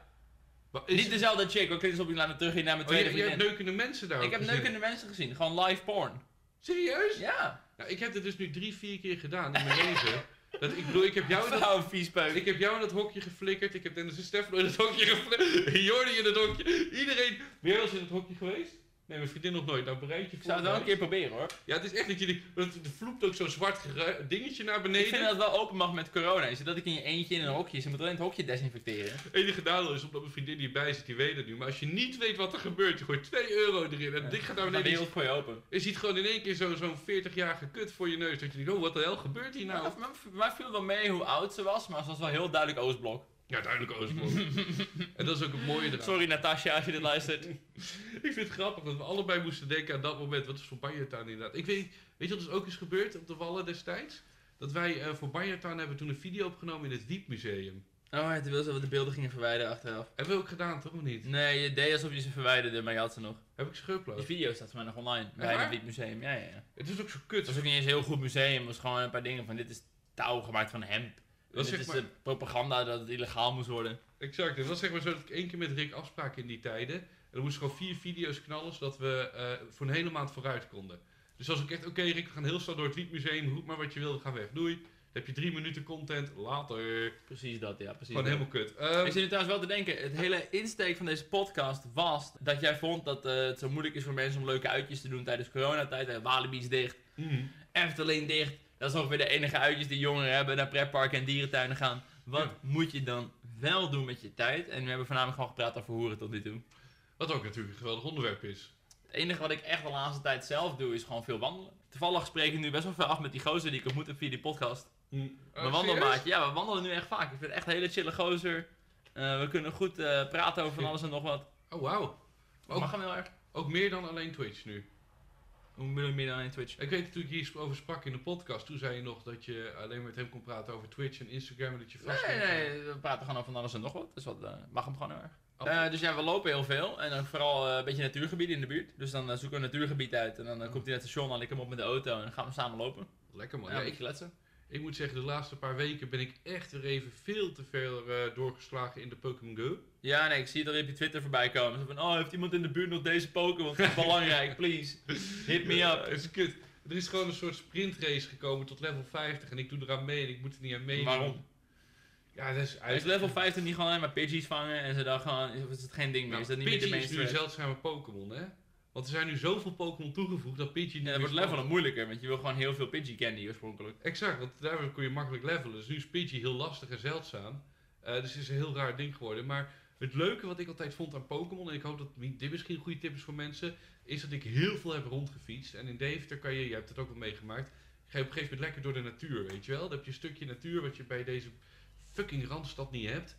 Speaker 1: Wa- is-
Speaker 2: Niet dezelfde chick, want ik is op die later terug naar mijn
Speaker 1: Oh, je,
Speaker 2: tweede
Speaker 1: je hebt
Speaker 2: vriendin.
Speaker 1: neukende mensen daar
Speaker 2: ik
Speaker 1: ook
Speaker 2: heb
Speaker 1: gezien.
Speaker 2: neukende mensen gezien, gewoon live porn.
Speaker 1: Serieus?
Speaker 2: Ja,
Speaker 1: Nou, ik heb dit dus nu drie, vier keer gedaan in mijn (laughs) leven. Dat, ik bedoel, ik heb jou in dat,
Speaker 2: vrouw (laughs) viespeuk.
Speaker 1: ik heb jou in dat hokje geflikkerd. Ik heb Dennis en Stefano in dat hokje geflikkerd. (laughs) Jordi in dat hokje. Iedereen. Weer was in dat hokje geweest? Nee, mijn vriendin nog nooit. Nou, bereid je voor.
Speaker 2: Ik zou het wel
Speaker 1: mij.
Speaker 2: een keer proberen hoor.
Speaker 1: Ja, het is echt dat jullie... Want er vloept ook zo'n zwart geru- dingetje naar
Speaker 2: Ik vind
Speaker 1: beneden.
Speaker 2: dat het wel open mag met corona, is dat ik in je eentje in een hokje, ze moet alleen het hokje desinfecteren.
Speaker 1: Het enige nadeel is, omdat mijn vriendin hierbij zit, die weet het nu. Maar als je niet weet wat er gebeurt, je gooit 2 euro erin. En
Speaker 2: Ja.
Speaker 1: dit gaat naar
Speaker 2: Dan de
Speaker 1: beneden.
Speaker 2: wereld voor je open.
Speaker 1: Je ziet gewoon in één keer zo- zo'n 40-jarige kut voor je neus. Dat je denkt, oh, wat de hel gebeurt hier nou?
Speaker 2: Nou, mij- mij viel wel mee hoe oud ze was, maar ze was wel heel duidelijk Oostblok.
Speaker 1: Ja, duidelijk Oostblok. en dat is ook het mooie eraan.
Speaker 2: Sorry Natasja als je dit luistert.
Speaker 1: Oh, Ik vind het grappig dat we allebei moesten denken aan dat moment. Wat is voor Banjertaan inderdaad? Ik weet, weet je wat dus ook is gebeurd op de Wallen destijds? Dat wij eh, voor Banjertaan hebben toen een video opgenomen in het Wiepmuseum.
Speaker 2: Oh, ja, toen wilde ze wat de beelden gingen verwijderen achteraf.
Speaker 1: Hebben we ook gedaan, toch of niet?
Speaker 2: Nee, je deed alsof je ze verwijderde, maar je had ze nog.
Speaker 1: Heb ik ze
Speaker 2: Die
Speaker 1: geüpload?
Speaker 2: video staat voor mij nog online.
Speaker 1: Echt
Speaker 2: Bij
Speaker 1: waar?
Speaker 2: het Wiet Museum, ja, ja, ja.
Speaker 1: Het is ook zo
Speaker 2: Het
Speaker 1: kut.
Speaker 2: was ook niet eens een heel goed museum, het was gewoon een paar dingen van dit is touw gemaakt van hemp.
Speaker 1: Dat
Speaker 2: Dit
Speaker 1: zeg
Speaker 2: is
Speaker 1: maar-
Speaker 2: de propaganda dat het illegaal moest worden.
Speaker 1: Exact. Het was zeg maar zo dat ik één keer met Rick afsprak in die tijden. En dan moesten we gewoon vier video's knallen, zodat we eh, voor een hele maand vooruit konden. Dus als ik echt, oké Rick, we gaan heel snel door het Wiepmuseum. Roep maar wat je wil, we gaan weg. Doei. Dan heb je drie minuten content. Later.
Speaker 2: Precies dat, ja, precies.
Speaker 1: Gewoon
Speaker 2: dat.
Speaker 1: helemaal kut. Ehm,
Speaker 2: Ik zit nu trouwens wel te denken, het hele insteek van deze podcast was dat jij vond dat eh, het zo moeilijk is voor mensen om leuke uitjes te doen tijdens coronatijd. Eh, Walibi's dicht,
Speaker 1: mm.
Speaker 2: Efteling dicht. Dat is ongeveer de enige uitjes die jongeren hebben naar pretparken en dierentuinen gaan. Wat
Speaker 1: Ja.
Speaker 2: moet je dan wel doen met je tijd? En we hebben voornamelijk gewoon gepraat over hoeren tot nu toe.
Speaker 1: Wat ook natuurlijk een geweldig onderwerp is.
Speaker 2: Het enige wat ik echt de laatste tijd zelf doe is gewoon veel wandelen. Toevallig spreek ik nu best wel veel af met die gozer die ik ontmoet heb via die podcast.
Speaker 1: Oh,
Speaker 2: Mijn wandelmaatje. Ja, we wandelen nu echt vaak. Ik vind het echt een hele chille gozer. Eh, we kunnen goed eh, praten over van alles en nog wat.
Speaker 1: Oh, wauw.
Speaker 2: Ik mag hem heel erg.
Speaker 1: Ook meer dan alleen Twitch nu.
Speaker 2: Hoe bedoel je meer dan in Twitch?
Speaker 1: Ik weet dat toen ik hierover sprak in de podcast, toen zei je nog dat je alleen met hem kon praten over Twitch en Instagram en dat je vast...
Speaker 2: Nee, nee, we praten gewoon over van alles en nog wat. Dus dat eh, mag hem gewoon heel erg.
Speaker 1: Oh.
Speaker 2: Eh, dus ja, we lopen heel veel. En dan vooral eh, een beetje natuurgebieden in de buurt. Dus dan eh, zoeken we een natuurgebied uit. En dan eh, komt hij naar het station, dan ik hem op met de auto. En dan gaan we samen lopen.
Speaker 1: Lekker man.
Speaker 2: Ja,
Speaker 1: Ja,
Speaker 2: een
Speaker 1: ik,
Speaker 2: beetje kletsen.
Speaker 1: ik moet zeggen, de laatste paar weken ben ik echt weer even veel te veel eh, doorgeslagen in de Pokémon Go.
Speaker 2: Ja, nee, ik zie het al op je Twitter voorbij komen. Zo van, oh, heeft iemand in de buurt nog deze Pokémon? Dat is (laughs) belangrijk, please. Hit me
Speaker 1: Ja,
Speaker 2: up.
Speaker 1: het is kut. Er is gewoon een soort sprintrace gekomen tot level 50 en ik doe eraan mee en ik moet er niet aan meedoen.
Speaker 2: Waarom?
Speaker 1: Ja, dat is
Speaker 2: Hij is Dus level 15 niet gewoon alleen maar Pidgeys vangen en ze dan gewoon, of is het geen ding meer?
Speaker 1: Nou,
Speaker 2: is dat niet meer de
Speaker 1: Pidgey is nu
Speaker 2: mainstream?
Speaker 1: een
Speaker 2: Ja,
Speaker 1: zeldzame Pokémon, hè? Want er zijn nu zoveel Pokémon toegevoegd dat Pidgey niet
Speaker 2: dan
Speaker 1: meer
Speaker 2: wordt
Speaker 1: spannend
Speaker 2: levelen moeilijker, want je wil gewoon heel veel Pidgey candy oorspronkelijk.
Speaker 1: Exact, want daarvoor kon je makkelijk levelen. Dus nu is Pidgey heel lastig en zeldzaam. Eh, dus het is een heel raar ding geworden. Maar Het leuke wat ik altijd vond aan Pokémon, en ik hoop dat mi- dit misschien een goede tip is voor mensen, is dat ik heel veel heb rondgefietst. En in Deventer kan je, je hebt het ook wel meegemaakt, ga je op een gegeven moment lekker door de natuur, weet je wel. Dan heb je een stukje natuur wat je bij deze fucking Randstad niet hebt.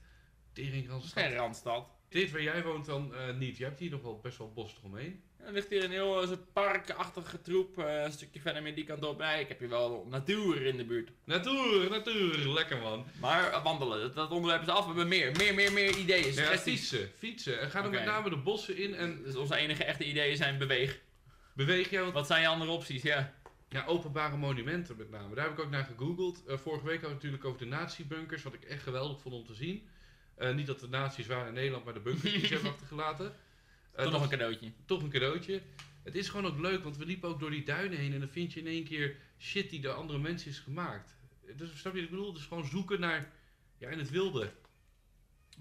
Speaker 1: Tering
Speaker 2: Dat is geen
Speaker 1: Randstad.
Speaker 2: randstad.
Speaker 1: Dit waar jij woont dan eh, niet. Je hebt hier nog wel best wel bos eromheen.
Speaker 2: En Er ligt hier een heel eh, zo'n parkachtige troep, eh, een stukje verder meer die kant op. Nee, ik heb hier wel natuur in de buurt.
Speaker 1: Natuur, natuur, lekker man.
Speaker 2: Maar eh, wandelen, dat, dat onderwerp is af. We hebben meer, meer, meer, meer ideeën,
Speaker 1: Ja,
Speaker 2: suggesties.
Speaker 1: fietsen, fietsen. En ga dan
Speaker 2: Oké.
Speaker 1: met name de bossen in en
Speaker 2: Dus onze enige echte ideeën zijn beweeg.
Speaker 1: beweeg jij. Want
Speaker 2: Wat zijn je andere opties? Ja.
Speaker 1: Ja, openbare monumenten met name. Daar heb ik ook naar gegoogeld. Eh, vorige week hadden we het natuurlijk over de natiebunkers, wat ik echt geweldig vond om te zien. Eh, niet dat de nazi's waren in Nederland, maar de bunkers
Speaker 2: (laughs)
Speaker 1: die ze hebben achtergelaten. Eh,
Speaker 2: Toch nog
Speaker 1: dat
Speaker 2: een cadeautje.
Speaker 1: toch een cadeautje. Het is gewoon ook leuk, want we liepen ook door die duinen heen en dan vind je in één keer shit die door andere mensen is gemaakt. Dus snap je wat ik bedoel? Dus gewoon zoeken naar, ja, in het wilde.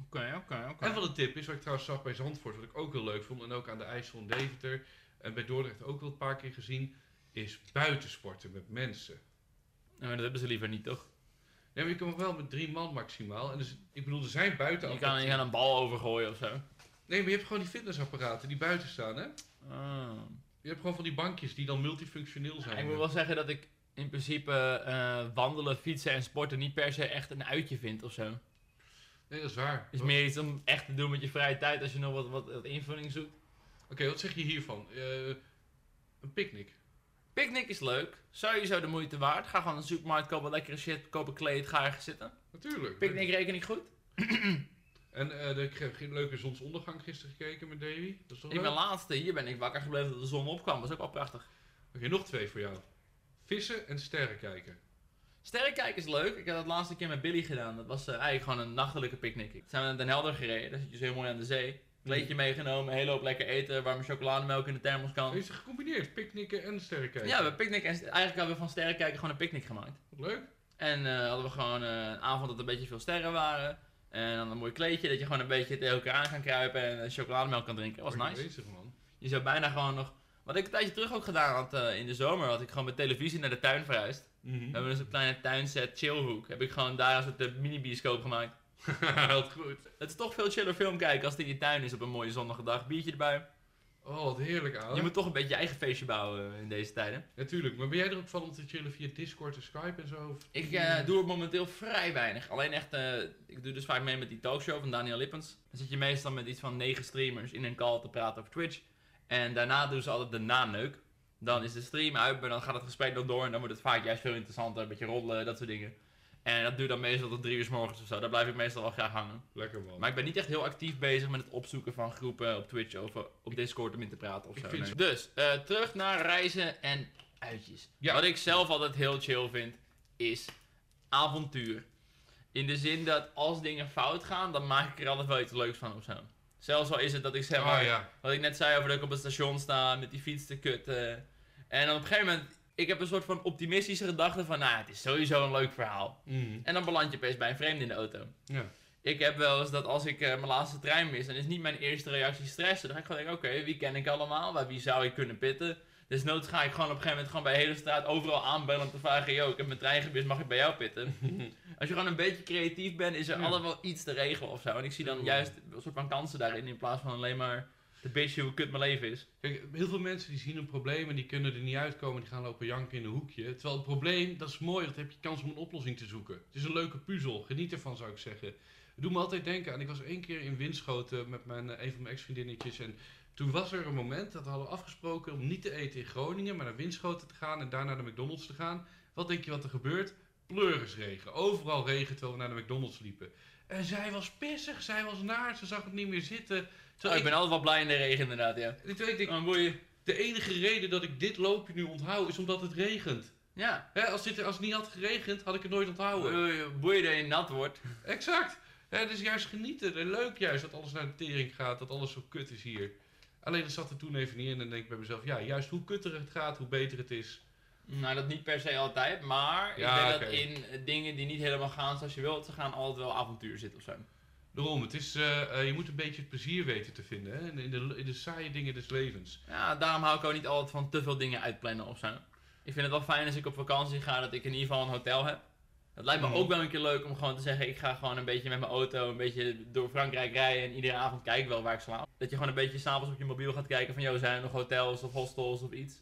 Speaker 2: Oké, oké, oké.
Speaker 1: En wat een tip is, wat ik trouwens zag bij Zandvoort, wat ik ook heel leuk vond, en ook aan de IJssel in Deventer, en bij Dordrecht ook wel een paar keer gezien, is buitensporten met mensen.
Speaker 2: Maar dat hebben ze liever niet, toch?
Speaker 1: Nee, maar je kan wel met drie man maximaal. En dus, ik bedoel, er zijn buiten
Speaker 2: Je kan, je kan een bal overgooien of zo.
Speaker 1: Nee, maar je hebt gewoon die fitnessapparaten die buiten staan, hè?
Speaker 2: Ah.
Speaker 1: Je hebt gewoon van die bankjes die dan multifunctioneel zijn.
Speaker 2: Ik moet wel zeggen dat ik in principe eh, wandelen, fietsen en sporten niet per se echt een uitje vind of zo.
Speaker 1: Nee, dat is waar.
Speaker 2: is meer iets om echt te doen met je vrije tijd als je nog wat, wat, wat invulling zoekt.
Speaker 1: Oké, wat zeg je hiervan? Eh, een picknick.
Speaker 2: Picknick is leuk. Sowieso de moeite waard. Ga gewoon naar de supermarkt, kopen lekkere shit, kopen kleed, ga ergens zitten.
Speaker 1: Natuurlijk.
Speaker 2: Picknick reken ik goed.
Speaker 1: En eh ik heb geen leuke zonsondergang gisteren gekeken met Davy. Dat is toch
Speaker 2: In
Speaker 1: leuk?
Speaker 2: mijn
Speaker 1: Oké,
Speaker 2: laatste, hier ben ik wakker gebleven dat de zon opkwam. Dat is ook wel prachtig.
Speaker 1: nog twee voor jou. Vissen en sterren kijken.
Speaker 2: Sterrenkijken is leuk. Ik heb dat laatste keer met Billy gedaan. Dat was eh, eigenlijk gewoon een nachtelijke picknick. Toen Zijn we naar Den Helder gereden. Daar zit je zo heel mooi aan de zee. Kleedje meegenomen, een hele hoop lekker eten, warme chocolademelk in de thermoskan.
Speaker 1: Heeft ze gecombineerd, picknicken en sterren kijken.
Speaker 2: Ja, we picknick en eigenlijk hadden we van sterrenkijken gewoon een picknick gemaakt.
Speaker 1: Wat leuk.
Speaker 2: En eh, hadden we gewoon eh, een avond dat er een beetje veel sterren waren. En dan een mooi kleedje dat je gewoon een beetje tegen elkaar aan kan kruipen en eh, chocolademelk kan drinken. was
Speaker 1: Ben je
Speaker 2: nice.
Speaker 1: Bezig, man.
Speaker 2: Je zou bijna gewoon nog... Wat ik een tijdje terug ook gedaan had eh, in de zomer, had ik gewoon met televisie naar de tuin verhuisd.
Speaker 1: Mhm.
Speaker 2: We hebben dus een kleine tuinset chillhoek. Heb ik gewoon daar een soort eh, mini-bioscoop gemaakt.
Speaker 1: (laughs) Heel goed.
Speaker 2: Het is toch veel chiller film kijken als het in je tuin is op een mooie zonnige dag. Biertje erbij.
Speaker 1: Oh, wat heerlijk, ouwe.
Speaker 2: Je moet toch een beetje je eigen feestje bouwen eh, in deze tijden.
Speaker 1: Natuurlijk, maar ben jij er ook van om te chillen via Discord en Skype en zo? Of-
Speaker 2: Ik eh, doe momenteel vrij weinig. Alleen echt, eh, ik doe dus vaak mee met die talkshow van Daniel Lippens. Dan zit je meestal met iets van negen streamers in een call te praten over Twitch. En daarna doen ze altijd de naneuk. Dan is de stream uit, maar dan gaat het gesprek nog door. En dan wordt het vaak juist veel interessanter. Een beetje roddelen, dat soort dingen. En dat duurt dan meestal tot drie uur 's morgens of zo. Daar blijf ik meestal wel graag hangen.
Speaker 1: Lekker man.
Speaker 2: Maar ik ben niet echt heel actief bezig met het opzoeken van groepen op Twitch of eh, op Discord om in te praten of
Speaker 1: Ik
Speaker 2: zo.
Speaker 1: vind
Speaker 2: nee. Dus, eh, terug naar reizen en uitjes.
Speaker 1: Ja.
Speaker 2: Wat ik zelf altijd heel chill vind, is avontuur. In de zin dat als dingen fout gaan, dan maak ik er altijd wel iets leuks van of zo. Zelfs al is het dat ik zeg maar,
Speaker 1: Ah, ja.
Speaker 2: wat ik net zei over dat ik op het station sta met die fiets te kutten. En op een gegeven moment, ik heb een soort van optimistische gedachte van, nou het is sowieso een leuk verhaal.
Speaker 1: Mm.
Speaker 2: En dan beland je opeens bij een vreemde in de auto.
Speaker 1: ja.
Speaker 2: Ik heb wel eens dat als ik eh, mijn laatste trein mis, dan is niet mijn eerste reactie stressen. Dan ga ik gewoon denken, oké, wie ken ik allemaal? Bij wie zou ik kunnen pitten? Dus noods ga ik gewoon op een gegeven moment gewoon bij de hele straat overal aanbellen om te vragen, yo, ik heb mijn trein gemist, mag ik bij jou
Speaker 1: (laughs)
Speaker 2: pitten? Als je gewoon een beetje creatief bent, is er
Speaker 1: Ja.
Speaker 2: altijd wel iets te regelen of zo. En ik zie dan
Speaker 1: Ja.
Speaker 2: juist een soort van kansen daarin, in plaats van alleen maar de bitch hoe kut mijn leven is.
Speaker 1: Kijk, heel veel mensen die zien een probleem en die kunnen er niet uitkomen, die gaan lopen janken in een hoekje. Terwijl het probleem, dat is mooi, want dan heb je kans om een oplossing te zoeken. Het is een leuke puzzel, geniet ervan zou ik zeggen. Het doet me altijd denken aan, ik was één keer in Winschoten met mijn, eh, een van mijn ex-vriendinnetjes en toen was er een moment dat we hadden afgesproken om niet te eten in Groningen, maar naar Winschoten te gaan en daarna naar de McDonald's te gaan. Wat denk je wat er gebeurt? Pleurisregen. Overal regen terwijl we naar de McDonald's liepen. En zij was pissig, zij was naar, ze zag het niet meer zitten.
Speaker 2: Zo, Oh, ik ben altijd wel blij in de regen inderdaad, ja.
Speaker 1: ik, ik denk,
Speaker 2: Maar boeien.
Speaker 1: Ah, de enige reden dat ik dit loopje nu onthoud is omdat het regent.
Speaker 2: Ja,
Speaker 1: Hè, als, dit, als het niet had geregend, had ik het nooit onthouden.
Speaker 2: boeien boeien dat je nat wordt.
Speaker 1: Exact. Hè, dus juist genieten. En Leuk juist dat alles naar de tering gaat, dat alles zo kut is hier. Alleen dat zat er toen even niet in en dan denk ik bij mezelf, ja, juist hoe kutter het gaat, hoe beter het is.
Speaker 2: Nou, dat niet per se altijd, maar
Speaker 1: Ja,
Speaker 2: ik denk
Speaker 1: oké.
Speaker 2: dat in eh, dingen die niet helemaal gaan zoals je wilt, ze gaan altijd wel avontuur zitten of zo.
Speaker 1: Daarom, het is, eh, eh, je moet een beetje het plezier weten te vinden hè, in, in, de, in de saaie dingen des levens.
Speaker 2: Ja, daarom hou ik ook niet altijd van te veel dingen uitplannen of zo. Ik vind het wel fijn als ik op vakantie ga dat ik in ieder geval een hotel heb. Het lijkt me
Speaker 1: Mhm.
Speaker 2: ook wel een keer leuk om gewoon te zeggen, ik ga gewoon een beetje met mijn auto een beetje door Frankrijk rijden en iedere avond kijk ik wel waar ik slaap. Dat je gewoon een beetje s'avonds op je mobiel gaat kijken van, joh, zijn er nog hotels of hostels of iets.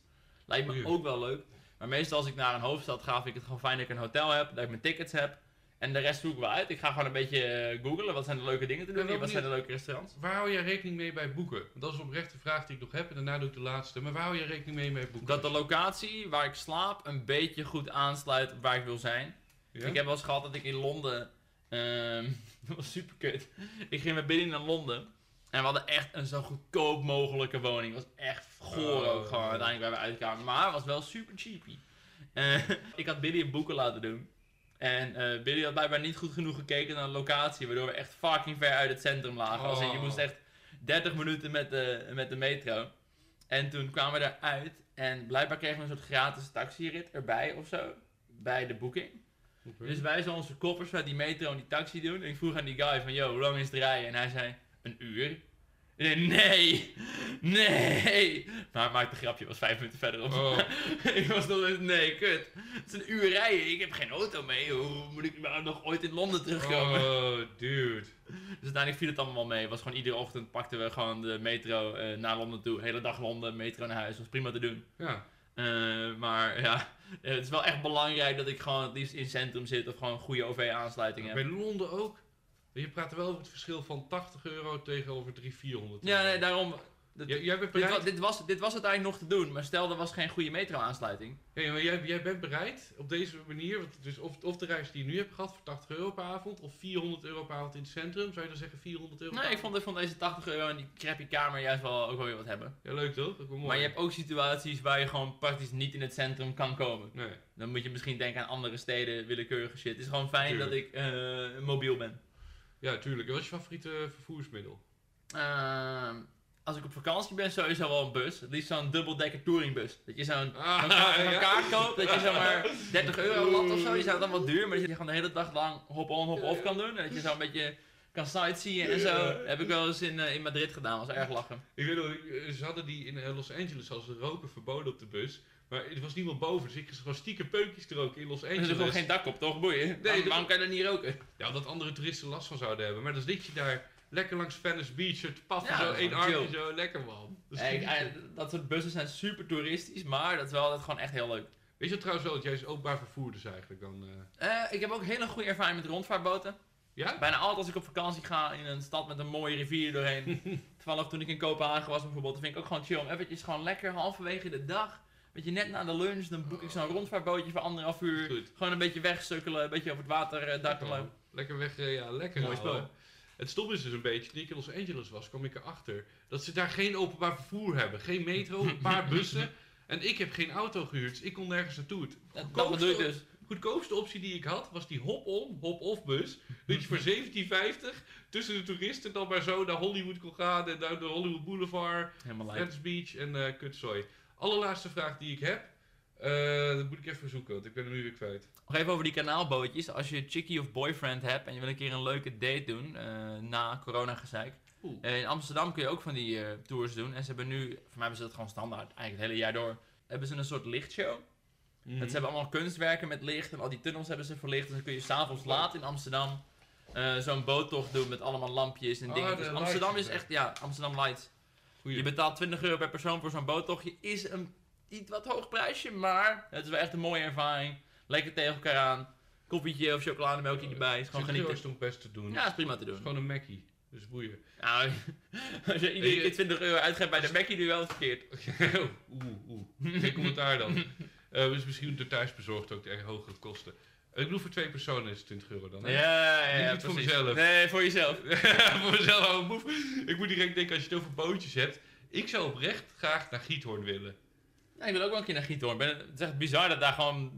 Speaker 2: Lijkt me
Speaker 1: Goeie.
Speaker 2: ook wel leuk. Maar meestal als ik naar een hoofdstad ga, vind ik het gewoon fijn dat ik een hotel heb, dat ik mijn tickets heb. En de rest zoek ik wel uit. Ik ga gewoon een beetje eh, googlen, wat zijn de leuke dingen te
Speaker 1: ben
Speaker 2: doen hier,
Speaker 1: wel
Speaker 2: wat zijn de leuke restaurants.
Speaker 1: Waar hou jij rekening mee bij boeken? Want Dat is oprecht de vraag die ik nog heb en daarna doe ik de laatste. Maar waar hou jij rekening mee bij boeken?
Speaker 2: Dat de locatie waar ik slaap een beetje goed aansluit op waar ik wil zijn.
Speaker 1: Ja?
Speaker 2: Ik heb wel eens gehad dat ik in Londen. ehm, (laughs) dat was super kut. Ik ging met Billy naar Londen. En we hadden echt een zo goedkoop mogelijke woning. Het was echt goor
Speaker 1: Oh.
Speaker 2: ook gewoon uiteindelijk waar we uitkwamen. Maar het was wel super cheapy. Eh, (laughs) ik had Billy een boeken laten doen. En eh, Billy had blijkbaar niet goed genoeg gekeken naar de locatie. Waardoor we echt fucking ver uit het centrum lagen. Als in, je
Speaker 1: Oh.
Speaker 2: moest echt 30 minuten met de, met de metro. En toen kwamen we eruit. En blijkbaar kregen we een soort gratis taxirit erbij of zo. Bij de boeking.
Speaker 1: Oké.
Speaker 2: Dus wij zo onze koffers met die metro en die taxi doen. En ik vroeg aan die guy van, yo, hoe lang is het rijden? En hij zei, een uur. Ik zei, nee, nee. Maar hij maakte een grapje, was vijf minuten verderop.
Speaker 1: Oh.
Speaker 2: (laughs) ik was nog eens, nee, kut. Het is een uur rijden, ik heb geen auto mee. Hoe moet ik nou nog ooit in Londen terugkomen?
Speaker 1: Oh, dude.
Speaker 2: Dus uiteindelijk viel het allemaal wel mee. Het was gewoon iedere ochtend pakten we gewoon de metro eh, naar Londen toe. Hele dag Londen, metro naar huis. was prima te doen.
Speaker 1: Ja.
Speaker 2: Eh, maar ja, (laughs) eh, het is wel echt belangrijk dat ik gewoon het liefst in het centrum zit of gewoon een goede OV-aansluiting heb.
Speaker 1: Bij Londen ook. Je praat er wel over het verschil van 80 euro tegenover 300, 400 euro.
Speaker 2: Ja, nee, daarom. dat-
Speaker 1: Jij- jij bent
Speaker 2: dit,
Speaker 1: bereid,
Speaker 2: was, dit, was, dit was uiteindelijk nog te doen, maar stel er was geen goede metro-aansluiting.
Speaker 1: Ja, maar jij, jij bent bereid op deze manier, want dus of, of de reis die je nu hebt gehad voor 80 euro per avond, of 400 euro per avond in het centrum, zou je dan zeggen 400 euro per
Speaker 2: Nee, ik
Speaker 1: avond?
Speaker 2: vond, ik vond deze 80 euro en die crappy kamer juist wel ook wel weer wat hebben.
Speaker 1: Ja, leuk toch? Dat mooi.
Speaker 2: Maar je hebt ook situaties waar je gewoon praktisch niet in het centrum kan komen.
Speaker 1: Nee.
Speaker 2: Dan moet je misschien denken aan andere steden, willekeurige shit. Het is gewoon fijn dat ik eh, mobiel ben.
Speaker 1: Ja, tuurlijk. Wat is je favoriete eh, vervoersmiddel?
Speaker 2: Ehm, als ik op vakantie ben, sowieso wel een bus. Het liefst zo'n dubbeldekker touringbus. Dat je zo'n
Speaker 1: Ah, (laughs)
Speaker 2: Een ka-
Speaker 1: ja.
Speaker 2: een kaart koopt, dat je zeg maar 30 euro lat of zo, je zou het dan wel duur, maar dat je gewoon de hele dag lang hop-on, hop-off kan doen. En dat je zo een beetje kan sightseeën en zo. Dat heb ik wel eens in, eh, in Madrid gedaan, was erg lachen.
Speaker 1: (laughs) Ik weet nog, ik- ze hadden die in eh, Los Angeles, hadden ze roken verboden op de bus. Maar er was niemand boven, dus ik was gewoon stiekem peukjes te roken in Los
Speaker 2: Er is er
Speaker 1: Angeles.
Speaker 2: gewoon geen dak op, toch? Boeien. Nee, waarom,
Speaker 1: dus. dat-
Speaker 2: waarom kan je dat niet roken?
Speaker 1: Ja, omdat andere toeristen last van zouden hebben. Maar dan zit je daar lekker langs Venice Beach, zo te paffen,
Speaker 2: Ja,
Speaker 1: zo
Speaker 2: dat is
Speaker 1: één
Speaker 2: gewoon
Speaker 1: armje,
Speaker 2: chill.
Speaker 1: zo lekker man. Dat is
Speaker 2: Eh, ik-
Speaker 1: genieten.
Speaker 2: eh, dat soort bussen zijn super toeristisch, maar dat is wel altijd gewoon echt heel leuk.
Speaker 1: Weet je trouwens wel dat jij is openbaar vervoer dus eigenlijk dan? eh,
Speaker 2: Eh, ik heb ook hele goede ervaring met rondvaartboten.
Speaker 1: Ja?
Speaker 2: Bijna altijd als ik op vakantie ga in een stad met een mooie rivier (laughs) doorheen. Toevallig toen ik in Kopenhagen was bijvoorbeeld, dat vind ik ook gewoon chill om eventjes gewoon lekker halverwege de dag. Weet je, net na de lunch, dan boek ik zo'n rondvaartbootje voor anderhalf uur.
Speaker 1: Goed.
Speaker 2: Gewoon een beetje wegsukkelen, een beetje over het water eh, dartelen.
Speaker 1: Lekker weg, eh, ja, lekker.
Speaker 2: Mooi
Speaker 1: ouwe.
Speaker 2: spel.
Speaker 1: Het stom is dus een beetje, toen ik in Los Angeles was, kwam ik erachter dat ze daar geen openbaar vervoer hebben. Geen metro, een
Speaker 2: (laughs)
Speaker 1: paar bussen. En ik heb geen auto gehuurd, dus ik kon nergens naartoe. Het
Speaker 2: Dat, dat bedoel ik dus.
Speaker 1: goedkoopste optie die ik had, was die hop-on, hop-off bus. Dat
Speaker 2: (laughs)
Speaker 1: je voor 17,50 tussen de toeristen dan maar zo naar Hollywood kon gaan en naar de Hollywood Boulevard,
Speaker 2: Helemaal lijp.
Speaker 1: Venice Beach en eh kutzooi. Allerlaatste vraag die ik heb, eh, dat moet ik even zoeken, want ik ben hem nu weer kwijt.
Speaker 2: Nog even over die kanaalbootjes. Als je chickie of boyfriend hebt en je wil een keer een leuke date doen eh, na coronagezeik.
Speaker 1: Oeh.
Speaker 2: Eh, in Amsterdam kun je ook van die eh, tours doen. En ze hebben nu, voor mij hebben ze dat gewoon standaard, eigenlijk het hele jaar door. Hebben ze een soort lichtshow. En ze hebben allemaal kunstwerken met licht en al die tunnels hebben ze verlicht. En dan kun je s'avonds laat in Amsterdam eh, zo'n boottocht doen met allemaal lampjes en
Speaker 1: Ah,
Speaker 2: dingen.
Speaker 1: de
Speaker 2: Dus
Speaker 1: lights
Speaker 2: Amsterdam is
Speaker 1: en zo.
Speaker 2: echt, ja, Amsterdam Lights.
Speaker 1: Goeie.
Speaker 2: Je betaalt 20 euro per persoon voor zo'n boottochtje. Is een iets wat hoog prijsje, maar het is wel echt een mooie ervaring. Lekker tegen elkaar aan. Koffietje of chocolademelkje erbij. Is gewoon
Speaker 1: 20 euro
Speaker 2: genieten.
Speaker 1: is toch best te doen.
Speaker 2: Ja, is prima te
Speaker 1: Het is
Speaker 2: doen.
Speaker 1: gewoon een Mackie, dus boeien. (laughs)
Speaker 2: Nou, (laughs) als je iedere keer 20 euro uitgeeft bij de Mackie, doe je wel het verkeerd.
Speaker 1: Oh, oeh, oeh. Geen commentaar
Speaker 2: (laughs)
Speaker 1: dan. Eh, dus misschien door thuisbezorgd ook de erg hogere kosten. Eh, ik bedoel, voor twee personen is het 20 euro dan. hè?
Speaker 2: Ja, ja,
Speaker 1: Niet
Speaker 2: ja,
Speaker 1: voor
Speaker 2: precies.
Speaker 1: mezelf.
Speaker 2: Nee, voor jezelf.
Speaker 1: (laughs) voor mezelf oude boef. Ik moet direct denken, als je het over bootjes hebt. Ik zou oprecht graag naar Giethoorn willen.
Speaker 2: Ja, ik wil ook wel een keer naar Giethoorn. Ben- Het is echt bizar dat daar gewoon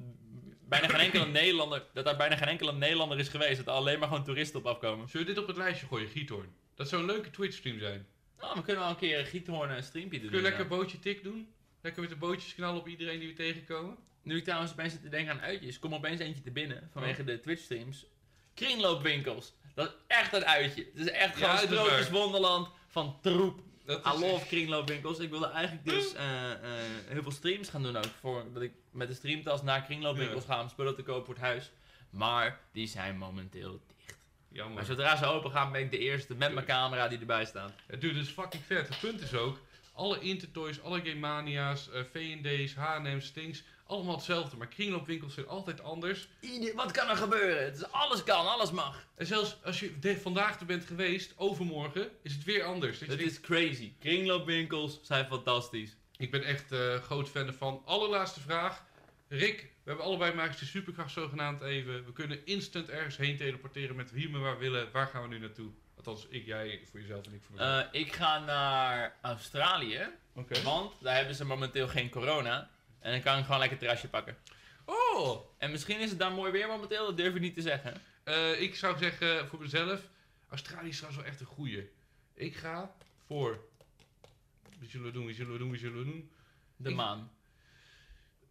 Speaker 2: bijna geen (laughs) enkele Nederlander, dat daar bijna geen enkele Nederlander is geweest. Dat er alleen maar gewoon toeristen op afkomen.
Speaker 1: Zullen we dit op het lijstje gooien, Giethoorn? Dat zou een leuke Twitch-stream zijn.
Speaker 2: Nou, we kunnen wel een keer een Giethoorn een streampje doen.
Speaker 1: Kun je lekker
Speaker 2: inderdaad.
Speaker 1: bootje tik doen? Lekker met de bootjes knallen op iedereen die we tegenkomen?
Speaker 2: Nu ik trouwens opeens zit te denken aan uitjes, kom opeens eentje te binnen vanwege de Twitch streams. Kringloopwinkels. Dat is echt een uitje. Het is echt
Speaker 1: Ja,
Speaker 2: gewoon
Speaker 1: dat is waar.
Speaker 2: sprookjeswonderland van troep.
Speaker 1: Dat
Speaker 2: I love kringloopwinkels. Ik wilde eigenlijk dus eh, eh, heel veel streams gaan doen ook. Voor, dat ik met de streamtas naar kringloopwinkels ga om spullen te kopen voor het huis. Maar die zijn momenteel dicht. Maar
Speaker 1: Jammer.
Speaker 2: zodra ze open gaan, ben ik de eerste met mijn
Speaker 1: Tuurlijk.
Speaker 2: camera die erbij staat.
Speaker 1: Het duurt dus fucking ver. Het punt is ook, alle Intertoys, alle Game Mania's, eh, V&D's, H&M's, Stings, allemaal hetzelfde. Maar kringloopwinkels zijn altijd anders.
Speaker 2: Ieder- wat kan er gebeuren? Het is, alles kan, alles mag.
Speaker 1: En zelfs als je de- vandaag er bent geweest, overmorgen, is het weer anders. Dat je
Speaker 2: Het
Speaker 1: denkt,
Speaker 2: is crazy. Kringloopwinkels zijn fantastisch.
Speaker 1: Ik ben echt eh, groot fan ervan. Allerlaatste vraag. Rick, we hebben allebei magische superkracht zogenaamd even. We kunnen instant ergens heen teleporteren met wie we maar willen. Waar gaan we nu naartoe? Althans, ik, jij, voor jezelf en ik voor mezelf.
Speaker 2: Eh, ik ga naar Australië,
Speaker 1: Oké.
Speaker 2: want daar hebben ze momenteel geen corona. En dan kan ik gewoon lekker een terrasje pakken.
Speaker 1: Oh!
Speaker 2: En misschien is het daar mooi weer momenteel, dat durf ik niet te zeggen.
Speaker 1: Eh, ik zou zeggen voor mezelf, Australië is trouwens wel echt een goeie. Ik ga voor... Wie zullen we doen, wie zullen we doen, wie zullen we doen?
Speaker 2: De
Speaker 1: Ik-
Speaker 2: maan.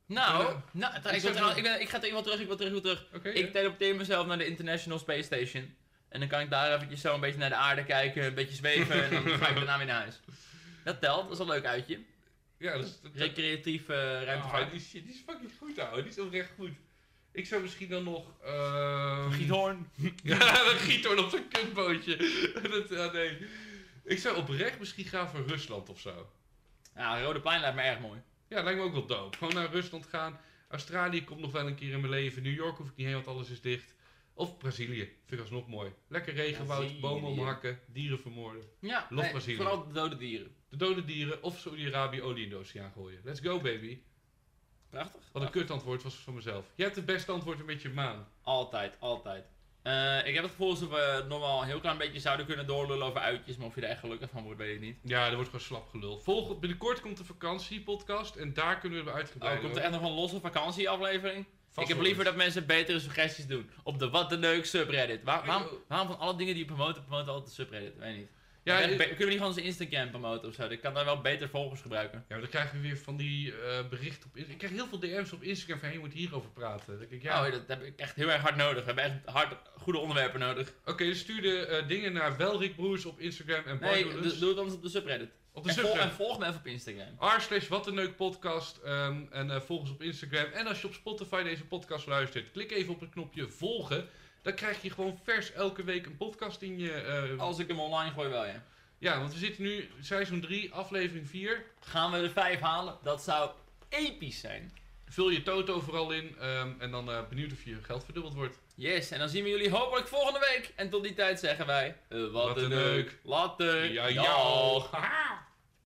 Speaker 2: Nou,
Speaker 1: Ja.
Speaker 2: nou ik,
Speaker 1: zou
Speaker 2: wil
Speaker 1: zeggen-
Speaker 2: trouw- ik, ben, ik ga terug, terug, ik wil terug, ik wil terug.
Speaker 1: Oké,
Speaker 2: Ik teleporteer mezelf naar de International Space Station. En dan kan ik daar eventjes zo een beetje naar de aarde kijken, een beetje zweven en dan ga ik daarna weer naar huis. Dat telt, dat is een leuk uitje.
Speaker 1: ja, dat is... dat-
Speaker 2: Recreatief eh ruimtevaart.
Speaker 1: Ah, die, shit, die is fucking goed, ouwe. Die is oprecht goed. Ik zou misschien dan nog... ehm,
Speaker 2: Giethoorn.
Speaker 1: Ja, (laughs) dat Giethoorn op zijn kutbootje. (laughs) dat, ah, nee. Ik zou oprecht misschien gaan voor Rusland of zo.
Speaker 2: Ja, Rode Plein lijkt me erg mooi.
Speaker 1: Ja, lijkt me ook wel dope. Gewoon naar Rusland gaan. Australië komt nog wel een keer in mijn leven. New York hoef ik niet heen, want alles is dicht. Of Brazilië. Vind ik alsnog mooi. Lekker regenwoud,
Speaker 2: Brazilië.
Speaker 1: bomen omhakken, dieren vermoorden.
Speaker 2: Ja,
Speaker 1: Los
Speaker 2: nee,
Speaker 1: Brazilië.
Speaker 2: vooral de dode dieren.
Speaker 1: De dode dieren of Saudi-Arabië olie in de oceaan gooien. Let's go, baby.
Speaker 2: Prachtig.
Speaker 1: Wat een kut antwoord was van mezelf. Jij hebt het beste antwoord een beetje maan.
Speaker 2: Altijd, altijd. Eh, ik heb het gevoel alsof we nog wel een heel klein beetje zouden kunnen doorlullen over uitjes, maar of je er echt gelukkig van wordt, weet ik niet.
Speaker 1: Ja, er wordt gewoon slap gelul. Volgend, binnenkort komt de vakantiepodcast en daar kunnen we
Speaker 2: Oh,
Speaker 1: uitgebreid
Speaker 2: komt er
Speaker 1: over.
Speaker 2: echt nog een losse vakantieaflevering?
Speaker 1: Vast
Speaker 2: ik
Speaker 1: wel
Speaker 2: heb liever
Speaker 1: eens.
Speaker 2: dat mensen betere suggesties doen. Op de Wat de Leuk subreddit. Waar-
Speaker 1: Ik
Speaker 2: waarom,
Speaker 1: ook.
Speaker 2: waarom van alle dingen die je promoten, promoten altijd de subreddit? Weet niet.
Speaker 1: Ja, eh,
Speaker 2: Ja,
Speaker 1: je-
Speaker 2: kunnen we niet gewoon onze Instagram promoten of zo? Ik kan daar wel beter volgers gebruiken.
Speaker 1: Ja, maar dan krijgen we weer van die eh, berichten op Instagram. Ik krijg heel veel DM's op Instagram van, hey, je moet hierover praten. Dan denk ik, ja,
Speaker 2: Oh, Ja. dat heb ik echt heel erg hard nodig. We hebben echt hard goede onderwerpen nodig.
Speaker 1: oké, dus stuur de eh, dingen naar Welrik Broers op Instagram en
Speaker 2: Nee,
Speaker 1: Bardo
Speaker 2: doe,
Speaker 1: Lutz
Speaker 2: doe het anders op de subreddit.
Speaker 1: op de
Speaker 2: en, volg, en
Speaker 1: Subgram.
Speaker 2: volg me even op Instagram.
Speaker 1: R slash wat een leuk podcast ehm, en eh, volg ons op Instagram. En als je op Spotify deze podcast luistert, klik even op het knopje volgen. Dan krijg je gewoon vers elke week een podcast in je... eh,
Speaker 2: Als ik hem online gooi wel, ja.
Speaker 1: Ja, want we zitten nu seizoen 3, aflevering 4.
Speaker 2: Gaan we de vijf halen? Dat zou episch zijn.
Speaker 1: Vul je toto vooral in ehm, en dan eh, benieuwd of je geld verdubbeld wordt.
Speaker 2: Yes, en dan zien we jullie hopelijk volgende week. En tot die tijd zeggen wij... eh, wat,
Speaker 1: Wat
Speaker 2: een
Speaker 1: een
Speaker 2: leuk.
Speaker 1: leuk.
Speaker 2: Later.
Speaker 1: Ja,
Speaker 2: Dag.
Speaker 1: ja.